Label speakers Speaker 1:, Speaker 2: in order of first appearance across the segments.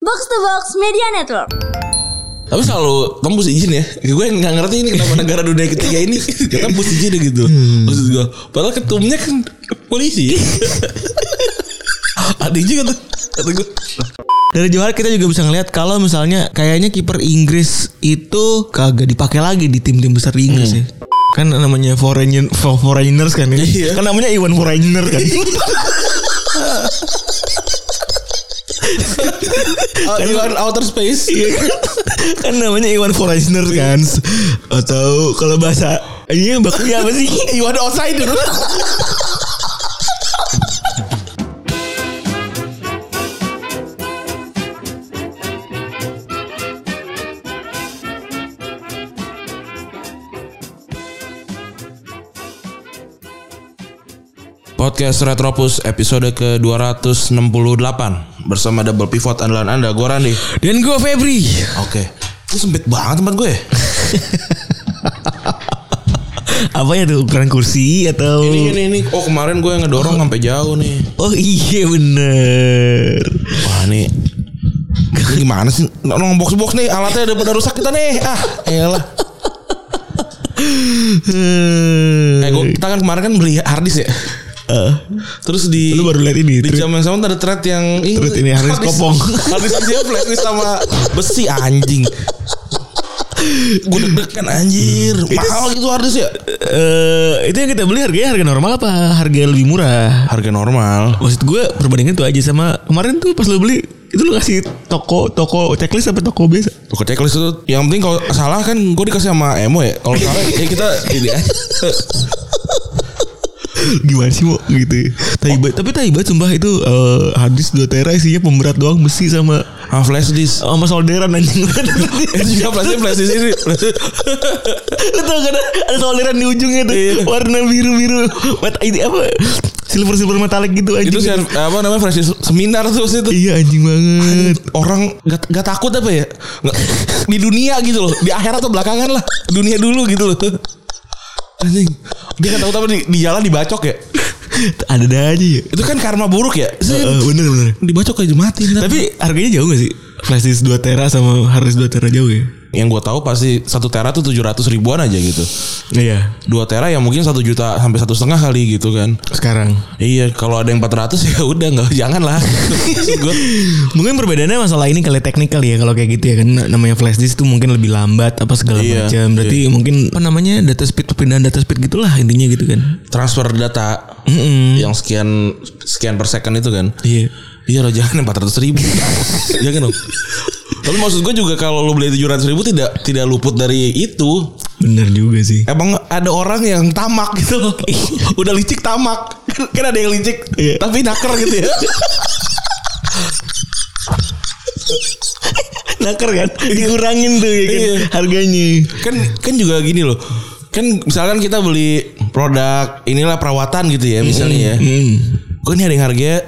Speaker 1: Box to Box Media Network.
Speaker 2: Tapi selalu tembus izin ya. Gue nggak ngerti ini kenapa negara dunia ketiga ini ya tembus izin gitu. Maksud gue, padahal ketumnya kan polisi. Ada juga tuh. Kata gue.
Speaker 3: Dari Johar kita juga bisa ngelihat kalau misalnya kayaknya kiper Inggris itu kagak dipakai lagi di tim-tim besar di Inggris
Speaker 2: Hmm.
Speaker 3: ya. Kan namanya foreigner for- foreigners kan ya.
Speaker 2: Iya.
Speaker 3: Kan namanya Iwan Foreigner kan.
Speaker 2: Uh, you are outer space.
Speaker 3: Kan Iya kan? kan namanya Iwan Foreigner kan atau kalau bahasa ini bakunya apa sih Iwan Outsider
Speaker 2: Podcast Retropus episode ke-268 bersama double pivot andalan Anda gue Randi.
Speaker 3: dan gue Febri
Speaker 2: Oke. Itu sempit banget tempat ya? gue.
Speaker 3: apa ya tuh ukuran kursi atau
Speaker 2: Ini ini ini. Oh, kemarin gue ngedorong sampai jauh nih.
Speaker 3: oh iya bener
Speaker 2: Wah, nih ini gimana sih? Nong box box nih alatnya udah pada rusak kita nih. Ah, elah.
Speaker 3: Eh,
Speaker 2: Eh, gua, kita kan kemarin kan beli harddisk ya.
Speaker 3: Iya. eh,
Speaker 2: Terus di
Speaker 3: lu baru lihat ini
Speaker 2: di
Speaker 3: tweet.
Speaker 2: jam yang sama ada thread yang
Speaker 3: Thread ini, harddisk kopong.
Speaker 2: Harddisk isinya flash disk sama besi anjing. Gue deg-degan anjir.
Speaker 3: Hmm.
Speaker 2: Mahal gitu harddisk ya?
Speaker 3: Eh, itu yang kita beli harganya harga normal apa harga lebih murah
Speaker 2: Harga normal.
Speaker 3: maksud gue perbandingan tuh aja sama kemarin tuh pas lo beli itu lo kasih toko toko checklist apa toko biasa
Speaker 2: Gue checklist itu yang penting kalau salah kan gue dikasih sama Emo ya. Kalau salah ya kita ini aja.
Speaker 3: gimana sih mau gitu taibat tapi taibat sumpah itu eh, hadis dua tera isinya pemberat doang besi sama
Speaker 2: Ah, flash disk.
Speaker 3: sama solderan anjing
Speaker 2: Itu juga flash disk, flash disk ini.
Speaker 3: lu tau gak ada, ada solderan di ujungnya tuh warna biru biru mata ini apa silver silver metalik gitu anjing
Speaker 2: Itu sih apa namanya flash disk seminar tuh waktu itu.
Speaker 3: iya anjing banget
Speaker 2: orang gak, gak takut apa ya Nggak- di dunia gitu loh di akhirat atau belakangan lah dunia dulu gitu loh anjing dia gak takut apa di, di jalan dibacok ya
Speaker 3: ada ada aja ya
Speaker 2: itu kan karma buruk ya
Speaker 3: Eh,
Speaker 2: Sih,
Speaker 3: eh, bener bener
Speaker 2: dibacok aja mati ntar.
Speaker 3: tapi harganya jauh gak sih flash disk 2 tera sama harddisk 2 tera jauh ya
Speaker 2: yang gue tahu pasti satu tera tuh 700 ribuan aja gitu
Speaker 3: iya
Speaker 2: dua tera yang mungkin satu juta sampai satu setengah kali gitu kan
Speaker 3: sekarang
Speaker 2: iya kalau ada yang 400 ya udah nggak jangan lah Maksud gua,
Speaker 3: Mungkin perbedaannya masalah ini kali teknikal ya kalau kayak gitu ya kan namanya flash disk itu mungkin lebih lambat apa segala
Speaker 2: Iya,
Speaker 3: macam. Berarti mungkin apa namanya data speed perpindahan data speed gitulah intinya gitu kan.
Speaker 2: transfer data
Speaker 3: Mm-mm.
Speaker 2: yang sekian sekian per second itu kan
Speaker 3: Iya.
Speaker 2: Iya lah jangan 400 ribu Jangan dong Tapi maksud gue juga kalau lu beli 700 ribu tidak tidak luput dari itu
Speaker 3: Bener juga sih.
Speaker 2: Emang ada orang yang tamak gitu loh Udah licik tamak Kan, kan ada yang licik
Speaker 3: Iya.
Speaker 2: Tapi naker gitu ya
Speaker 3: Naker kan dikurangin tuh ya kan
Speaker 2: Iya.
Speaker 3: harganya.
Speaker 2: Kan kan juga gini loh Kan misalkan kita beli produk Inilah perawatan gitu ya misalnya ya
Speaker 3: Hmm.
Speaker 2: Gue ini ada yang harganya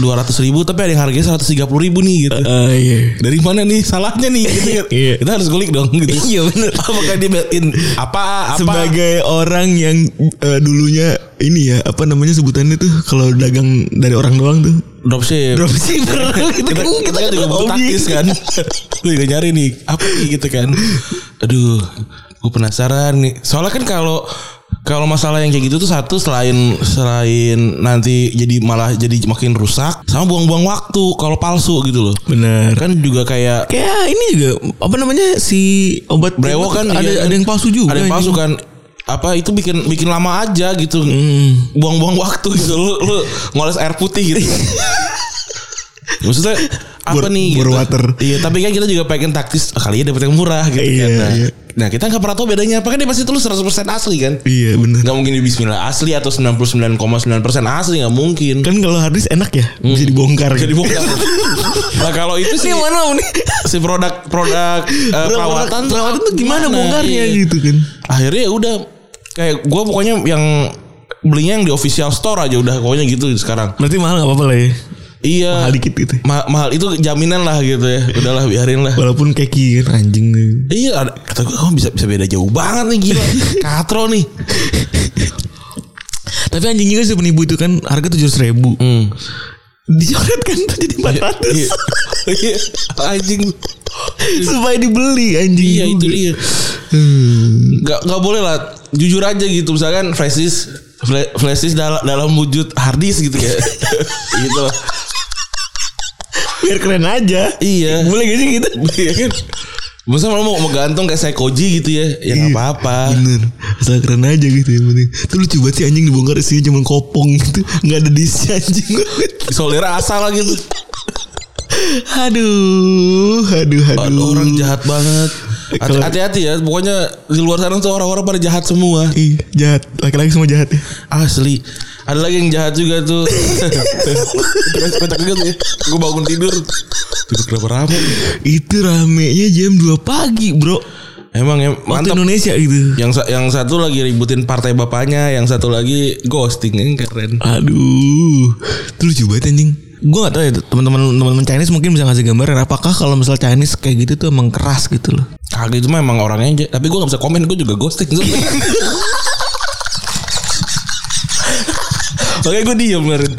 Speaker 2: 200 ribu Tapi ada yang harganya 130 ribu nih gitu
Speaker 3: Eh, iya.
Speaker 2: dari mana nih salahnya nih gitu kan.
Speaker 3: Iya.
Speaker 2: Kita harus gulik dong gitu.
Speaker 3: Iya, bener.
Speaker 2: Apakah dia beliin apa apa
Speaker 3: Sebagai orang yang eh, dulunya ini ya apa namanya sebutannya tuh kalau dagang dari orang doang tuh
Speaker 2: dropship.
Speaker 3: dropshipper gitu
Speaker 2: Kita,
Speaker 3: kan
Speaker 2: kita kan juga butuh
Speaker 3: hobi.
Speaker 2: taktis kan. Gue juga nyari nih apa nih gitu kan. Aduh, gue penasaran nih. Soalnya kan kalau kalau masalah yang kayak gitu tuh satu selain selain nanti jadi malah jadi makin rusak sama buang-buang waktu kalau palsu gitu loh.
Speaker 3: Bener.
Speaker 2: Kan juga kayak
Speaker 3: Kayak Ya, ini juga apa namanya si obat
Speaker 2: brewok kan
Speaker 3: ada
Speaker 2: iya.
Speaker 3: ada yang palsu juga.
Speaker 2: Ada yang palsu
Speaker 3: anjing.
Speaker 2: kan apa itu bikin bikin lama aja gitu.
Speaker 3: Hmm.
Speaker 2: buang-buang waktu gitu lu lu ngoles air putih gitu maksudnya apa
Speaker 3: Bor-
Speaker 2: nih
Speaker 3: bor
Speaker 2: gitu.
Speaker 3: water.
Speaker 2: iya tapi kan kita juga pengen taktis ah, kali ya dapat yang murah gitu
Speaker 3: Iya,
Speaker 2: kan nah,
Speaker 3: iya.
Speaker 2: nah, kita nggak pernah tahu bedanya apa kan dia pasti tulis 100% asli kan
Speaker 3: Iya benar.
Speaker 2: nggak mungkin di Bismillah asli atau 99,9% asli nggak mungkin
Speaker 3: Kan kalau harddisk enak ya bisa dibongkar.
Speaker 2: jadi
Speaker 3: gitu.
Speaker 2: bukan nah kalau itu sih
Speaker 3: Ini mana nih?
Speaker 2: si produk produk eh, perawatan
Speaker 3: Perawatan, perawatan tuh gimana bongkarnya
Speaker 2: bongkarnya
Speaker 3: gitu kan?
Speaker 2: Iya. akhirnya ya udah kayak gue pokoknya yang belinya yang di official store aja udah pokoknya gitu sekarang
Speaker 3: Berarti mahal nggak apa-apa lah ya.
Speaker 2: iya
Speaker 3: Mahal dikit gitu.
Speaker 2: Ma- mahal itu jaminan lah gitu ya udahlah biarin lah
Speaker 3: Walaupun keki kan anjing nih.
Speaker 2: iya ada- kata gue oh, bisa bisa beda jauh banget nih gila katro nih
Speaker 3: Tapi anjing juga sih penipu itu kan harga tujuh ratus ribu.
Speaker 2: hmm.
Speaker 3: Dicoret kan tuh jadi empat ratus.
Speaker 2: Iya. Iya, anjing.
Speaker 3: supaya dibeli anjing Hmm.
Speaker 2: Iya itu
Speaker 3: juga.
Speaker 2: dia. Gak gak boleh lah. Jujur aja gitu misalkan flashdisk fla- flashdisk dalam dalam wujud harddisk gitu ya. gitu lah.
Speaker 3: biar keren aja
Speaker 2: Iya.
Speaker 3: boleh gak sih gitu
Speaker 2: Iya kan. Maksudnya mau mau gantung kayak Seikoji gitu ya. Ya nggak
Speaker 3: Iya.
Speaker 2: apa-apa.
Speaker 3: bener asal keren aja gitu yang penting tuh lucu banget sih anjing dibongkar isinya cuma kopong gitu nggak ada diisi anjing
Speaker 2: Solera asal lah gitu.
Speaker 3: aduh aduh aduh
Speaker 2: Aduh, Orang jahat banget.
Speaker 3: Kalau-
Speaker 2: Hati-hati ya, pokoknya di luar sana tuh orang-orang pada jahat semua.
Speaker 3: Ih, jahat laki-laki semua jahat ya
Speaker 2: Asli. Ada lagi yang jahat juga tuh. Kocak juga tuh ya. Gue bangun tidur. Tidur kenapa rame?
Speaker 3: itu ramenya jam 2 pagi bro
Speaker 2: Emang em,
Speaker 3: waktu
Speaker 2: mantap.
Speaker 3: Indonesia gitu
Speaker 2: Yang sa- yang satu lagi ributin partai bapaknya, yang satu lagi ghosting Ini keren.
Speaker 3: aduh itu lucu banget anjing gue gak tau ya teman-teman teman-teman Chinese mungkin bisa ngasih gambaran apakah kalau misal Chinese kayak gitu tuh emang keras gitu loh
Speaker 2: Kagak itu mah emang orangnya aja. Tapi gue gak bisa komen, gue juga ghosting. Oke gue diem kemarin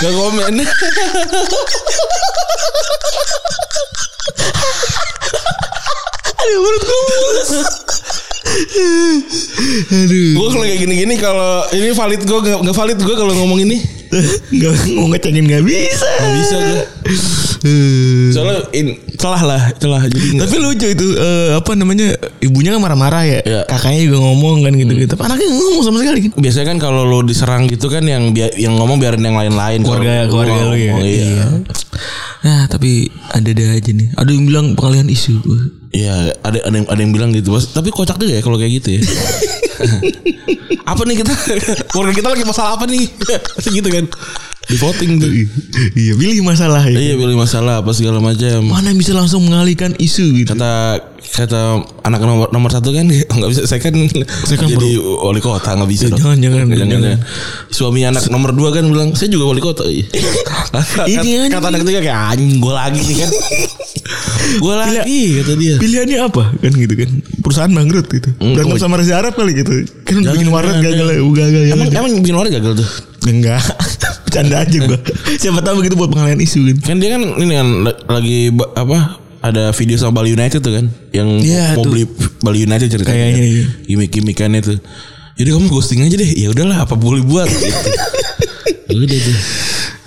Speaker 2: Gak komen
Speaker 3: aduh menurut gue aduh
Speaker 2: Gue kalau kayak gini-gini kalau Ini valid gue gak, nggak valid gue kalau ngomong ini
Speaker 3: nggak mau ngecengin nggak bisa
Speaker 2: Gak bisa gue
Speaker 3: Eh,
Speaker 2: Soalnya in, celah lah Celah jadi nggak-
Speaker 3: tapi lucu itu eh, apa namanya ibunya kan marah-marah ya
Speaker 2: Iya.
Speaker 3: kakaknya juga ngomong kan gitu gitu anaknya nggak ngomong sama sekali kan
Speaker 2: biasanya kan kalau lo diserang gitu kan yang bia- yang ngomong biarin yang lain-lain
Speaker 3: keluarga
Speaker 2: Kalau-
Speaker 3: keluarga
Speaker 2: Oh,
Speaker 3: lu ya
Speaker 2: oh, iya.
Speaker 3: nah tapi ada ada aja nih ada yang bilang pengalihan isu
Speaker 2: Iya, ada ada yang, ada yang bilang gitu, Mas. Tapi kocak juga ya kalau kayak gitu ya. apa nih kita keluarga kita lagi masalah apa nih? Pasti gitu kan. Di voting tuh.
Speaker 3: iya pilih masalah ya
Speaker 2: Iya, pilih masalah apa segala macam.
Speaker 3: mana yang bisa langsung mengalihkan isu gitu
Speaker 2: Kata kata anak nomor nomor satu kan nggak bisa saya kan, Iya,
Speaker 3: Saya kan
Speaker 2: jadi wali kota nggak bisa
Speaker 3: Ya,
Speaker 2: dong.
Speaker 3: jangan, jangan, jangan.
Speaker 2: suami anak nomor dua kan bilang saya juga wali kota Iya. kata, kata,
Speaker 3: Ini anjing.
Speaker 2: kata anak ketiga kayak anjing gue lagi nih kan gue lagi kata dia
Speaker 3: pilihannya apa kan gitu kan perusahaan bangkrut gitu berantem sama Reza Arab kali gitu kan bikin warnet
Speaker 2: jangan.
Speaker 3: gagal gagal
Speaker 2: emang
Speaker 3: gagal
Speaker 2: emang bikin warga gagal tuh
Speaker 3: enggak bercanda aja gua siapa tahu begitu buat pengalihan isu gitu
Speaker 2: Kan dia kan ini kan la- lagi ba- apa ada video sama Bali United tuh kan yang
Speaker 3: Iya,
Speaker 2: mau
Speaker 3: tuh.
Speaker 2: beli Bali United ceritanya. kan.
Speaker 3: Kayaknya, iya.
Speaker 2: Gimik-gimikannya tuh. Jadi kamu ghosting aja deh. Ya udahlah apa boleh buat gitu. Udah tuh.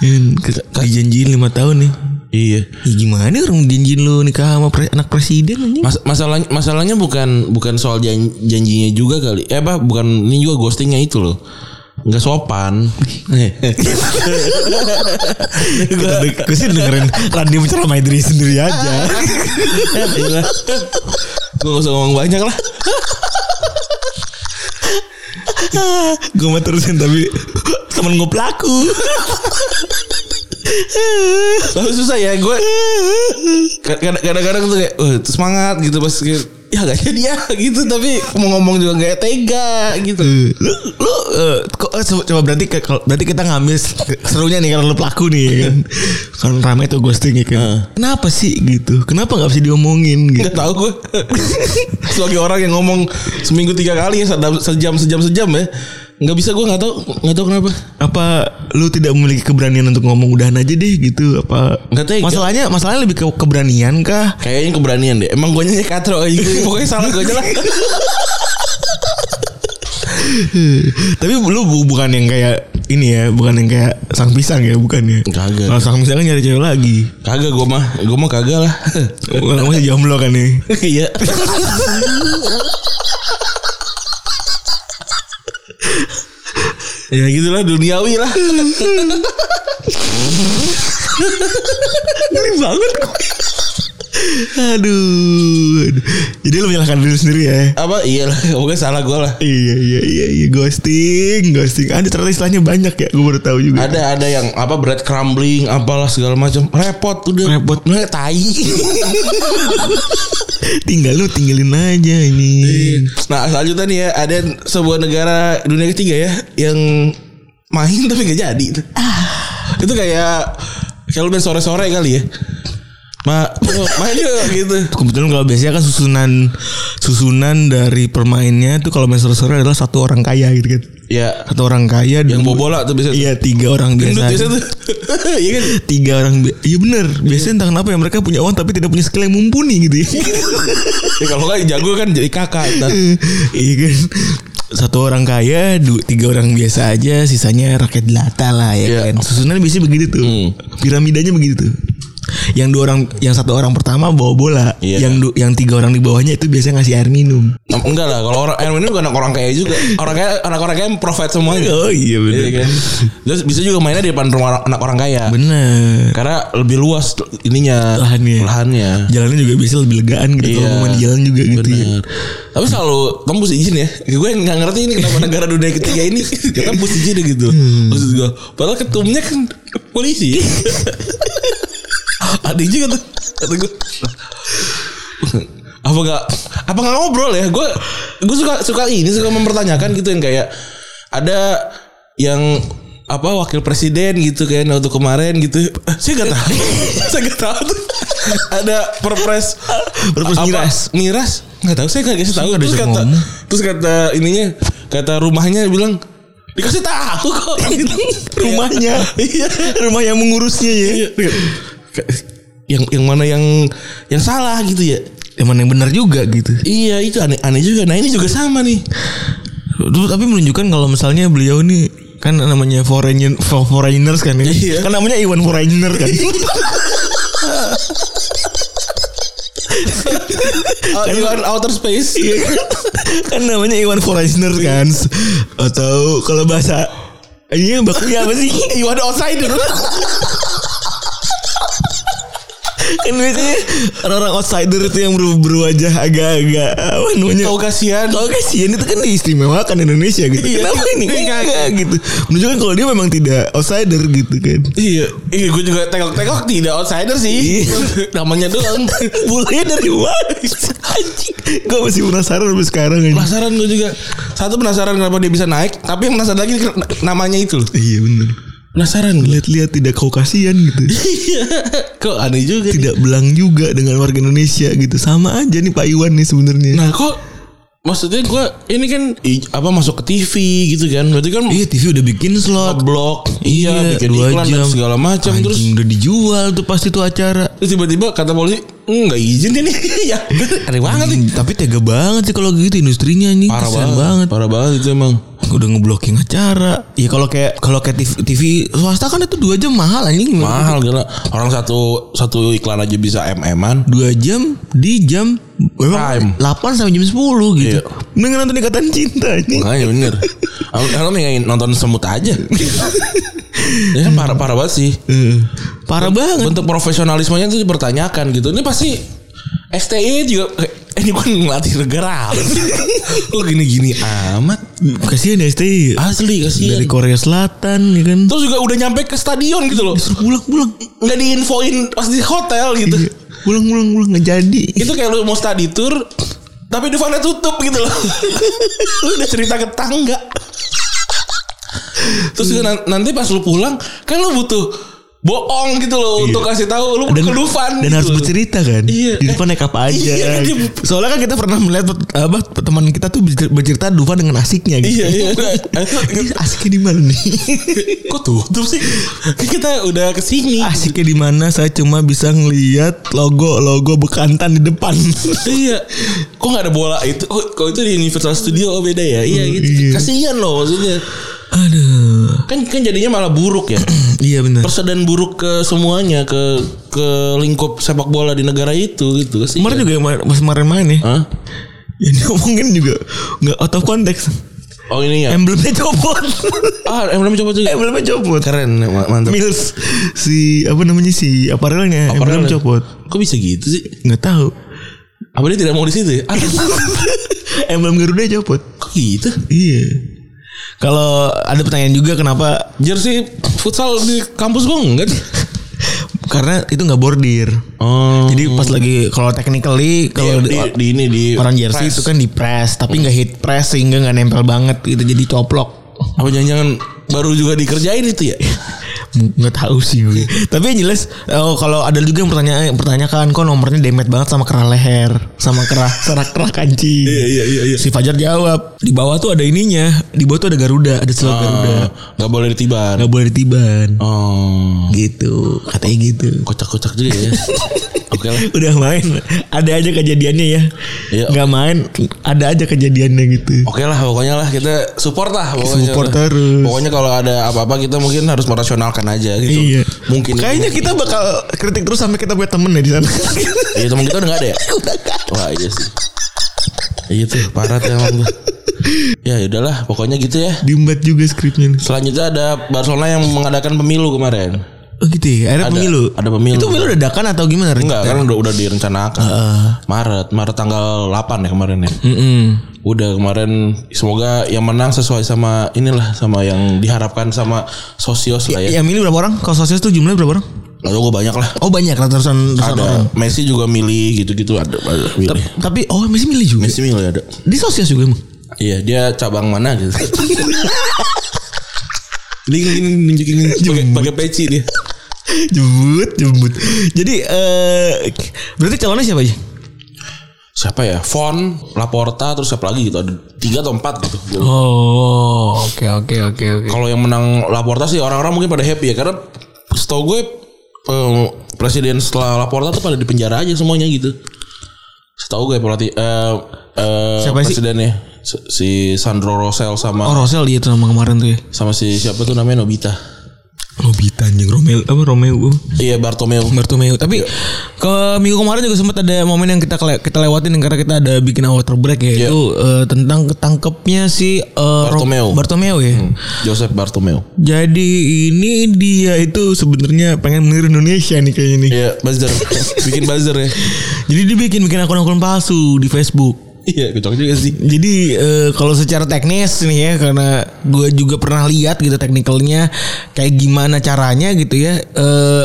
Speaker 3: Yan, ke- dijanjiin lima tahun nih
Speaker 2: Iya.
Speaker 3: ya gimana orang janjiin lu nikah sama pre- anak presiden anjing
Speaker 2: Mas masalahnya masalahnya bukan bukan soal jan- janjinya juga kali. Eh apa bukan ini juga ghostingnya itu loh. Enggak sopan.
Speaker 3: gue sih dengerin Randy menceramai diri sendiri aja
Speaker 2: Gue gak usah ngomong banyak lah.
Speaker 3: gue mau terusin tapi temen gue pelaku
Speaker 2: Tapi susah ya gue kad- kadang-kadang tuh kayak "Wah, semangat gitu pas kayak, ya gak jadi ya gitu tapi mau ngomong juga gak tega gitu
Speaker 3: lu lu eh, kok eh, co- coba berarti ke- kalau- berarti kita ngambil s- serunya nih karena lu pelaku nih ya kan kan ramai tuh ghosting ya kan kenapa sih gitu kenapa nggak bisa diomongin gitu
Speaker 2: Gak tau gue Sebagai orang yang ngomong seminggu tiga kali ya sedam- Sejam sejam sejam ya Gak bisa gue gak tau Gak tau kenapa
Speaker 3: apa lu tidak memiliki keberanian untuk ngomong udahan aja deh gitu apa
Speaker 2: Nggak tega.
Speaker 3: masalahnya masalahnya lebih ke keberanian kah
Speaker 2: Kayaknya keberanian deh Emang gue nyanyi katro aja Pokoknya salah gue aja lah
Speaker 3: tapi lu bu- bukan yang kayak ini ya bukan yang kayak sang pisang ya bukan ya
Speaker 2: Kagak.
Speaker 3: kalau sang pisang kan nyari cewek lagi
Speaker 2: Kagak gue mah Gue mah kagak lah
Speaker 3: Orang masih jomblo kan nih
Speaker 2: Iya Ya gitulah duniawi lah
Speaker 3: Ngeri banget gue. Aduh. aduh. Jadi lu menyalahkan diri lu sendiri ya.
Speaker 2: apa iya lah pokoknya salah gue lah
Speaker 3: Iya iya iya iya ghosting, ghosting. Ada ternyata istilahnya banyak ya, gue baru tahu juga.
Speaker 2: ada ada yang apa bread crumbling apalah segala macam repot udah
Speaker 3: Repot.
Speaker 2: Nah, tai
Speaker 3: Tinggal lu tinggalin aja ini.
Speaker 2: nah selanjutnya nih ya ada sebuah negara dunia ketiga ya yang main
Speaker 3: Ah.
Speaker 2: tapi gak jadi itu kayak kalau main sore-sore kali ya
Speaker 3: Ah.
Speaker 2: Ma, yuk, main yuk gitu.
Speaker 3: Kebetulan kalau biasanya kan susunan susunan dari permainnya itu kalau main seru-seru adalah satu orang kaya gitu kan.
Speaker 2: Ya,
Speaker 3: Satu orang kaya
Speaker 2: yang
Speaker 3: dua-
Speaker 2: bawa bola tuh bisa.
Speaker 3: Iya tiga orang
Speaker 2: Gendut
Speaker 3: biasa.
Speaker 2: biasa tuh. Iya kan?
Speaker 3: Tiga orang bi- Iya bener Biasanya entah kenapa ya Mereka punya uang Tapi tidak punya skill yang mumpuni gitu ya
Speaker 2: Ya kalau nggak jago kan jadi kakak. Ntar.
Speaker 3: Iya kan satu orang kaya, dua, tiga orang biasa aja, sisanya rakyat jelata lah ya
Speaker 2: Iya.
Speaker 3: kan. Susunan biasanya begitu tuh,
Speaker 2: Hmm.
Speaker 3: piramidanya begitu tuh. Yang dua orang, yang satu orang pertama bawa bola,
Speaker 2: Iya.
Speaker 3: yang du- yang tiga orang di bawahnya itu biasanya ngasih air
Speaker 2: Em,
Speaker 3: minum.
Speaker 2: Nah, Enggak lah, kalau orang Erwin ini bukan anak orang kaya juga. Orang kaya anak-orang kaya yang profit semuanya.
Speaker 3: Oh iya
Speaker 2: Iya kan? Terus bisa juga mainnya di depan rumah orang- anak orang kaya.
Speaker 3: Bener.
Speaker 2: Karena lebih luas ininya
Speaker 3: Lahannya.
Speaker 2: Lahannya.
Speaker 3: Jalannya juga biasanya lebih legaan gitu
Speaker 2: Iya.
Speaker 3: kalau mau main di jalan juga gitu. ya.
Speaker 2: Bener. Tapi selalu tembus izin ya. Gue nggak ngerti ini kenapa negara dunia ketiga ini ya tembus izin gitu.
Speaker 3: Hmm.
Speaker 2: Maksud gue, padahal ketumnya kan polisi. Ada juga tuh, kata gue. "Lah, Apa nggak apa nggak ngobrol ya? Gue gue suka suka ini suka mempertanyakan gitu yang kayak ada yang apa wakil presiden gitu kan waktu kemarin gitu Eh, saya nggak tahu saya nggak tahu tuh ada perpres
Speaker 3: Perpres
Speaker 2: apa?
Speaker 3: miras.
Speaker 2: miras nggak tahu saya nggak kasih tahu
Speaker 3: Nggak
Speaker 2: terus
Speaker 3: ada yang
Speaker 2: kata
Speaker 3: ngomong.
Speaker 2: terus kata ininya kata rumahnya bilang dikasih tahu kok Gitu.
Speaker 3: Rumahnya,
Speaker 2: iya
Speaker 3: rumah yang mengurusnya ya.
Speaker 2: yang yang mana yang yang salah gitu ya
Speaker 3: Emang yang benar juga gitu.
Speaker 2: iya itu aneh aneh juga nah ini juga sama nih
Speaker 3: Dulu tapi menunjukkan kalau misalnya beliau ini kan namanya foreign for- foreigners kan ya.
Speaker 2: Iya.
Speaker 3: Kan namanya Iwan Foreigner kan.
Speaker 2: Oh, Iwan outer space
Speaker 3: kan namanya Iwan Foreigner kan. Atau kalau bahasa Iya bakunya apa sih?
Speaker 2: Iwan outsider
Speaker 3: Kan biasanya orang-orang outsider itu yang ber- berwajah agak-agak apa namanya?
Speaker 2: kau kasihan
Speaker 3: Kalau kasihan itu kan diistimewakan Indonesia gitu.
Speaker 2: kan? Iya.
Speaker 3: Kenapa ini?
Speaker 2: Iya.
Speaker 3: Enggak gitu. Menunjukkan kalau dia memang tidak outsider gitu kan.
Speaker 2: Iya, iya gue juga tengok-tengok tidak outsider sih. Namanya doang.
Speaker 3: Mulai dari mana? Anjing. Gue masih penasaran sampai sekarang anjing.
Speaker 2: Penasaran gue juga. Satu penasaran kenapa dia bisa naik, tapi yang penasaran lagi ken- namanya itu loh.
Speaker 3: Iya bener
Speaker 2: Penasaran gue.
Speaker 3: Lihat-lihat tidak kau kasihan gitu
Speaker 2: Iya. Kok aneh juga.
Speaker 3: Tidak belang juga dengan warga Indonesia gitu Sama aja nih Pak Iwan nih sebenarnya
Speaker 2: Nah, kok maksudnya gue ini kan i- apa masuk ke TV gitu kan. Berarti kan
Speaker 3: Iya TV udah bikin slot
Speaker 2: blog, iya,
Speaker 3: Iya,
Speaker 2: bikin
Speaker 3: dua
Speaker 2: iklan dan
Speaker 3: jam.
Speaker 2: segala macam
Speaker 3: Anjing,
Speaker 2: terus
Speaker 3: udah dijual tuh pasti tuh acara
Speaker 2: terus tiba-tiba kata polisi nggak izin ini ya aneh banget nih
Speaker 3: Anjing, Tapi tega banget sih kalau gitu industrinya nih
Speaker 2: parah
Speaker 3: Kasihan
Speaker 2: banget. Iya, parah banget itu emang
Speaker 3: Udah ngeblocking acara Ya kalau kayak kalau kayak TV, TV swasta kan itu dua jam mahal anjing
Speaker 2: mahal gila orang satu satu iklan aja bisa mm-an
Speaker 3: dua jam di jam
Speaker 2: Time.
Speaker 3: memang 8 sampai jam 10 gitu.
Speaker 2: Iya.
Speaker 3: Mending nonton ikatan cinta ini.
Speaker 2: Makanya bener Aku aku pengen nonton semut aja Ya kan parah, parah banget sih
Speaker 3: Eh, Parah banget.
Speaker 2: Bentuk profesionalismenya itu dipertanyakan gitu Ini pasti STI juga eh, Ini kan ngelatih negara apa sih? Lu gini-gini amat
Speaker 3: Kasihan ya STI.
Speaker 2: Asli
Speaker 3: Dari
Speaker 2: kasihan
Speaker 3: Korea Selatan ya kan.
Speaker 2: Terus juga udah nyampe ke stadion gitu loh
Speaker 3: Disuruh pulang pulang.
Speaker 2: Nggak diinfoin pas di hotel gitu
Speaker 3: Iya. Pulang pulang pulang nggak jadi.
Speaker 2: Itu kayak lu mau study tour tapi Duvana tutup gitu loh. lu udah cerita ke tangga. Terus juga nan- nanti pas lu pulang kan lu butuh bohong gitu loh untuk kasih tahu lu
Speaker 3: Iya. Dan,
Speaker 2: ke Dufan
Speaker 3: dan
Speaker 2: gitu
Speaker 3: harus
Speaker 2: loh.
Speaker 3: bercerita kan
Speaker 2: Iya.
Speaker 3: Di depan naik apa aja
Speaker 2: Iya, di-
Speaker 3: Soalnya kan kita pernah melihat pet- apa, Teman kita tuh bercer- bercerita Dufan dengan asiknya gitu
Speaker 2: Iya iya.
Speaker 3: Ini asiknya di mana nih
Speaker 2: Kok tutup sih? Kan Kita udah kesini.
Speaker 3: Asiknya di mana saya cuma bisa ngelihat Logo-logo bekantan di depan
Speaker 2: iya. Kok nggak ada bola itu? Oh, kok itu di Universal Studio oh beda ya? Iya gitu.
Speaker 3: Iya.
Speaker 2: Kasihan loh maksudnya.
Speaker 3: Aduh
Speaker 2: Kan kan jadinya malah buruk ya.
Speaker 3: Iya benar.
Speaker 2: persedan buruk ke semuanya ke ke lingkup sepak bola di negara itu gitu sih.
Speaker 3: Kemarin juga yang ma- pas kemarin main ya.
Speaker 2: Hah?
Speaker 3: Yang diomongin juga nggak out of context.
Speaker 2: Oh ini ya.
Speaker 3: Emblemnya copot.
Speaker 2: ah, emblem coba juga.
Speaker 3: Emblemnya copot.
Speaker 2: Keren, ya, ma- mantap.
Speaker 3: Mills ya? si apa namanya si aparelnya
Speaker 2: Aparelnya.
Speaker 3: emblem copot.
Speaker 2: Kok bisa gitu sih?
Speaker 3: Nggak tahu.
Speaker 2: Apa dia tidak mau di situ ya? Ah,
Speaker 3: emblem Garuda copot.
Speaker 2: kok gitu?
Speaker 3: Iya. Kalau ada pertanyaan juga kenapa?
Speaker 2: Jersey futsal di kampus gua enggak. sih?
Speaker 3: Karena itu nggak bordir.
Speaker 2: Oh.
Speaker 3: Jadi pas lagi kalau technically
Speaker 2: Kalau
Speaker 3: kalau
Speaker 2: di, di ini di
Speaker 3: Iya, orang jersey itu kan di press tapi nggak hit press sehingga nggak nempel banget gitu jadi coplok.
Speaker 2: apa jangan-jangan baru juga dikerjain itu ya?
Speaker 3: nggak tahu sih gue. Tapi yang jelas oh, kalau ada juga yang pertanyaan pertanyakan kok nomornya demet banget sama kerah leher, sama kerah serak kerah kancing.
Speaker 2: Iya, iya, iya, iya.
Speaker 3: Si Fajar jawab, di bawah tuh ada ininya, di bawah tuh ada Garuda, ada silau Garuda.
Speaker 2: Ah, nggak boleh ditiban.
Speaker 3: Gak boleh ditiban.
Speaker 2: Oh,
Speaker 3: Gitu, katanya gitu.
Speaker 2: kocak-kocak juga ya. Oke lah.
Speaker 3: Udah main, ada aja kejadiannya ya.
Speaker 2: Iya.
Speaker 3: Nggak main, ada aja kejadiannya gitu.
Speaker 2: Oke lah pokoknya lah kita support lah pokoknya.
Speaker 3: Support terus.
Speaker 2: Pokoknya kalau ada apa-apa kita mungkin harus merasionalkan aja gitu.
Speaker 3: Iya.
Speaker 2: Mungkin.
Speaker 3: Kayaknya kita bakal kritik terus sampai kita punya temen ya di sana.
Speaker 2: Iya temen kita udah gak ada ya? Wah iya sih. Iya tuh parah tuh emang tuh. Ya udahlah pokoknya gitu ya.
Speaker 3: Diembat juga skripnya. nih.
Speaker 2: Selanjutnya ada Barcelona yang mengadakan pemilu kemarin.
Speaker 3: Oh gitu ya, akhirnya
Speaker 2: Ada-
Speaker 3: pemilu.
Speaker 2: ada pemilu.
Speaker 3: Itu pemilu dadakan atau gimana? Rik?
Speaker 2: Enggak kan udah udah direncanakan. Maret, Maret tanggal 8 ya kemarin ya.
Speaker 3: Mm-mm.
Speaker 2: Udah kemarin semoga yang menang sesuai sama inilah sama yang diharapkan sama sosios lah ya.
Speaker 3: Yang milih berapa orang? Kalau sosial tuh jumlahnya berapa orang?
Speaker 2: Lalu gue banyak lah.
Speaker 3: Oh banyak lah ratusan ratusan orang.
Speaker 2: Ada Messi juga milih gitu-gitu ada, ada milih.
Speaker 3: Tep- Tapi oh masih milih juga.
Speaker 2: Messi milih ada.
Speaker 3: Di sosial juga emang.
Speaker 2: Iya dia cabang mana gitu. Dia gini nunjukin pakai pakai peci dia.
Speaker 3: jembut, jembut. Jadi eh berarti calonnya siapa aja?
Speaker 2: Siapa ya? Fon, Laporta, terus siapa lagi gitu? Ada tiga atau empat gitu.
Speaker 3: Oh, oke oke oke oke.
Speaker 2: Kalau yang menang Laporta sih orang-orang mungkin pada happy ya karena setahu gue eh, presiden setelah Laporta tuh pada di penjara aja semuanya gitu. Setahu gue pelatih eh eh,
Speaker 3: Siapa sih?
Speaker 2: presidennya Si- si Sandro Rosel sama
Speaker 3: Oh, Rosel dia tuh nama kemarin tuh ya.
Speaker 2: sama si siapa tuh namanya Nobita.
Speaker 3: Nobita anjing Romeo apa Romeo.
Speaker 2: Iya Bartomeu.
Speaker 3: Bartomeu. Tapi ke minggu kemarin juga sempat ada momen yang kita kele- kita lewatin karena kita ada bikin water break ya
Speaker 2: Iya.
Speaker 3: itu eh, tentang ketangkepnya si eh, Ro-
Speaker 2: Bartomeu.
Speaker 3: Bartomeu ya.
Speaker 2: Joseph Bartomeu.
Speaker 3: Jadi ini dia itu sebenarnya pengen meniru Indonesia nih kayaknya nih.
Speaker 2: Iya buzzer Bikin buzzer ya
Speaker 3: Jadi dia bikin bikin akun-akun palsu di Facebook.
Speaker 2: Iya kocak juga sih
Speaker 3: Jadi eh, kalau secara teknis nih ya karena gue juga pernah lihat gitu teknikalnya kayak gimana caranya gitu ya. Eh,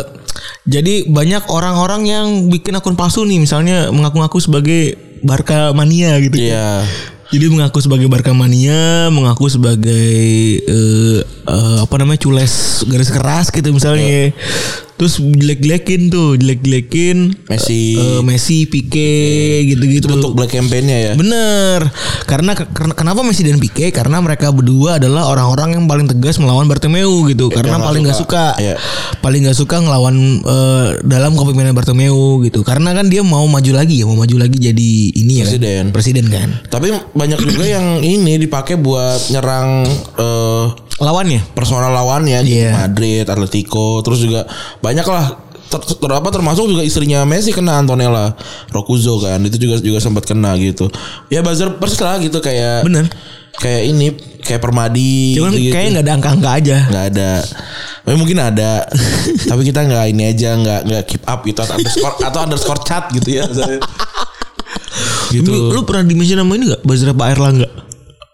Speaker 3: jadi banyak orang-orang yang bikin akun palsu nih misalnya mengaku-ngaku sebagai Barca mania gitu.
Speaker 2: Iya
Speaker 3: Jadi mengaku sebagai Barca mania, mengaku sebagai eh, eh, apa namanya cules garis keras gitu misalnya.
Speaker 2: Iya.
Speaker 3: Terus jelek-jelekin tuh, jelek-jelekin
Speaker 2: Messi
Speaker 3: eh, Messi, Pique
Speaker 2: Iya. Itu
Speaker 3: gitu-gitu.
Speaker 2: bentuk black campaign-nya ya
Speaker 3: Bener. Karena karena- kenapa Messi dan Pique? Karena mereka berdua adalah orang-orang yang paling tegas melawan Bartomeu gitu.
Speaker 2: Iya,
Speaker 3: karena
Speaker 2: nggak
Speaker 3: paling nggak suka,
Speaker 2: Iya.
Speaker 3: paling nggak suka ngelawan eh, dalam kepemimpinan Bartomeu gitu. Karena kan dia mau maju lagi ya, mau maju lagi jadi ini ya kan?
Speaker 2: Presiden.
Speaker 3: Presiden kan.
Speaker 2: Tapi banyak juga yang ini dipakai buat nyerang eh,
Speaker 3: Lawannya.
Speaker 2: personal lawannya di
Speaker 3: Iya.
Speaker 2: Madrid, Atletico, terus juga banyak lah ter, ter- apa, termasuk juga istrinya Messi kena Antonella Roccuzzo kan itu juga juga sempat kena gitu ya buzzer persis lah gitu kayak
Speaker 3: Bener.
Speaker 2: kayak ini kayak Permadi
Speaker 3: Cuman
Speaker 2: gitu-gitu.
Speaker 3: kayaknya nggak ada angka-angka aja.
Speaker 2: nggak ada Eh, mungkin ada tapi kita nggak ini aja nggak nggak keep up gitu atau underscore atau underscore chat gitu ya misalnya. gitu
Speaker 3: Lu, lu pernah dimention nama ini gak? Bazra Pak Erlangga?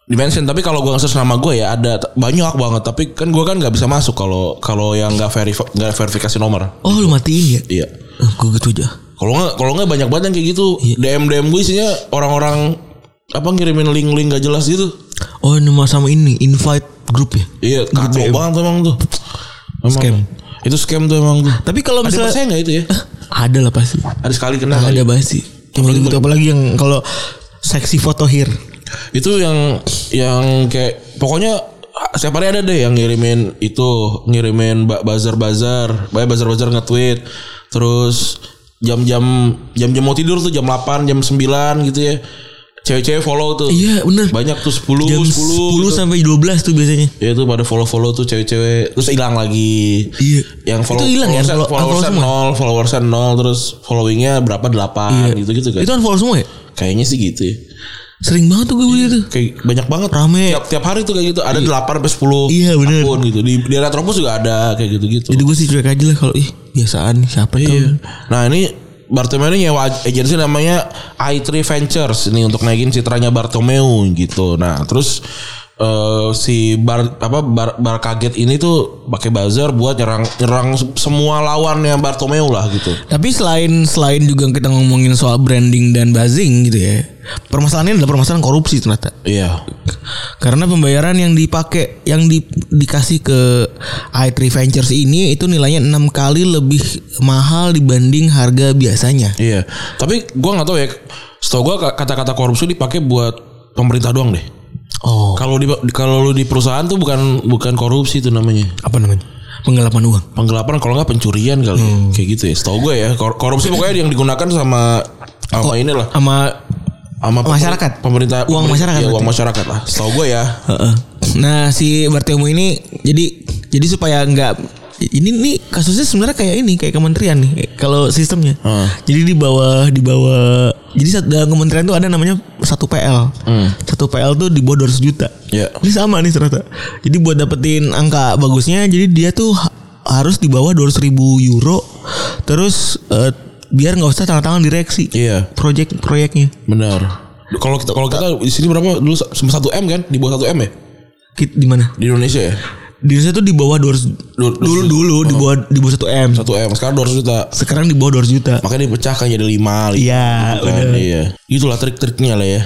Speaker 2: dimension tapi kalau gua nggak search nama gue ya ada t- banyak banget tapi kan gua kan nggak bisa masuk kalau kalau yang nggak verif- nggak verifikasi nomor
Speaker 3: Oh lu matiin ya?
Speaker 2: iya
Speaker 3: Eh, Gue gitu aja.
Speaker 2: kalau nggak kalau nggak banyak banget yang kayak gitu
Speaker 3: Iya.
Speaker 2: dm dm gue isinya orang-orang apa ngirimin link-link gak jelas gitu
Speaker 3: Oh nama sama ini invite grup ya?
Speaker 2: iya kacau banget tuh emang tuh Emang.
Speaker 3: Scam.
Speaker 2: itu scam tuh emang tuh
Speaker 3: Tapi kalau
Speaker 2: ada
Speaker 3: misalnya
Speaker 2: persen nggak itu ya
Speaker 3: ada lah pasti.
Speaker 2: ada sekali kena ya? kali.
Speaker 3: Nggak ada ya? basi. Apalagi gitu, apalagi yang kalau seksi foto hir.
Speaker 2: itu yang yang kayak pokoknya setiap hari ada deh yang ngirimin itu ngirimin bazar bazar banyak bazar bazar nge-tweet terus jam-jam jam-jam mau tidur tuh jam 8 jam 9 gitu ya cewek-cewek follow tuh
Speaker 3: Iya, bener.
Speaker 2: banyak tuh 10
Speaker 3: Jam
Speaker 2: 10,
Speaker 3: 10,
Speaker 2: gitu.
Speaker 3: sampai 12 tuh biasanya.
Speaker 2: Ya itu pada follow-follow tuh cewek-cewek terus hilang lagi.
Speaker 3: Iya.
Speaker 2: Yang follow
Speaker 3: Itu hilang ya,
Speaker 2: followersan-
Speaker 3: unfollow-
Speaker 2: followersan
Speaker 3: unfollow
Speaker 2: nol, followersan nol terus followingnya berapa 8 gitu-gitu kan.
Speaker 3: Iya. Itu unfollow semua ya?
Speaker 2: Kayaknya sih gitu ya.
Speaker 3: Sering banget tuh gue beli tuh.
Speaker 2: kayak banyak banget
Speaker 3: Rame.
Speaker 2: tiap tiap hari tuh kayak gitu ada 8 sampai 10
Speaker 3: Iya, bener.
Speaker 2: akun gitu di di Retropus juga ada kayak gitu-gitu
Speaker 3: Jadi gue sih cuek aja lah kalau ih biasaan siapa
Speaker 2: iya.
Speaker 3: tuh.
Speaker 2: nah ini Bartomeu ini nyewa agensi namanya i3 Ventures ini untuk naikin citranya Bartomeu gitu. Nah, terus eh, si bar apa bar, bar kaget ini tuh pakai buzzer buat nyerang nyerang semua lawannya Bartomeu lah gitu.
Speaker 3: Tapi selain selain juga kita ngomongin soal branding dan buzzing gitu ya. Permasalahannya adalah permasalahan korupsi ternyata.
Speaker 2: Iya.
Speaker 3: Karena pembayaran yang dipakai yang di- dikasih ke i3 Ventures ini itu nilainya enam kali lebih mahal dibanding harga biasanya.
Speaker 2: Iya. Tapi gua nggak tahu ya. Setahu gua ka- kata-kata korupsi dipakai buat pemerintah doang deh.
Speaker 3: Oh,
Speaker 2: Kalau di kalau lu di perusahaan tuh bukan bukan korupsi itu namanya.
Speaker 3: apa namanya? Penggelapan uang.
Speaker 2: Penggelapan kalau nggak pencurian kali.
Speaker 3: Hmm.
Speaker 2: Kayak gitu ya. Setahu gue ya. Kor- Korupsi pokoknya yang digunakan sama sama inilah
Speaker 3: Sama
Speaker 2: sama pemer-
Speaker 3: Oh. Masyarakat.
Speaker 2: pemerintah
Speaker 3: Uang
Speaker 2: pemerintah-
Speaker 3: masyarakat
Speaker 2: iya, uang
Speaker 3: berarti.
Speaker 2: masyarakat lah setahu gue ya
Speaker 3: Heeh. Nah si Bartemu ini jadi jadi supaya nggak ini nih kasusnya sebenarnya kayak ini kayak kementerian nih eh, kalau sistemnya.
Speaker 2: Heeh.
Speaker 3: Jadi di bawah di bawah jadi sat- dalam kementerian tuh ada namanya satu PL.
Speaker 2: Hmm.
Speaker 3: Satu PL tuh di bawah 200 juta.
Speaker 2: Iya.
Speaker 3: Ini sama nih ternyata. Jadi buat dapetin angka bagusnya jadi dia tuh ha- harus di bawah 200 ribu euro terus eh, biar nggak usah tanda tangan direksi.
Speaker 2: Iya.
Speaker 3: Proyek proyeknya.
Speaker 2: benar kalau kita kalau kita di sini berapa dulu sempat satu m kan di bawah satu m ya
Speaker 3: Kit- Di mana?
Speaker 2: di Indonesia ya
Speaker 3: Di Indonesia tuh di bawah 200
Speaker 2: Du-
Speaker 3: dulu dulu di bawah di bawah 1 M.
Speaker 2: satu m sekarang 200 juta
Speaker 3: Sekarang di bawah 200 juta.
Speaker 2: makanya dipecahkan jadi lima lima
Speaker 3: Iya,
Speaker 2: gitu kan.
Speaker 3: benar.
Speaker 2: iya itulah trik-triknya lah ya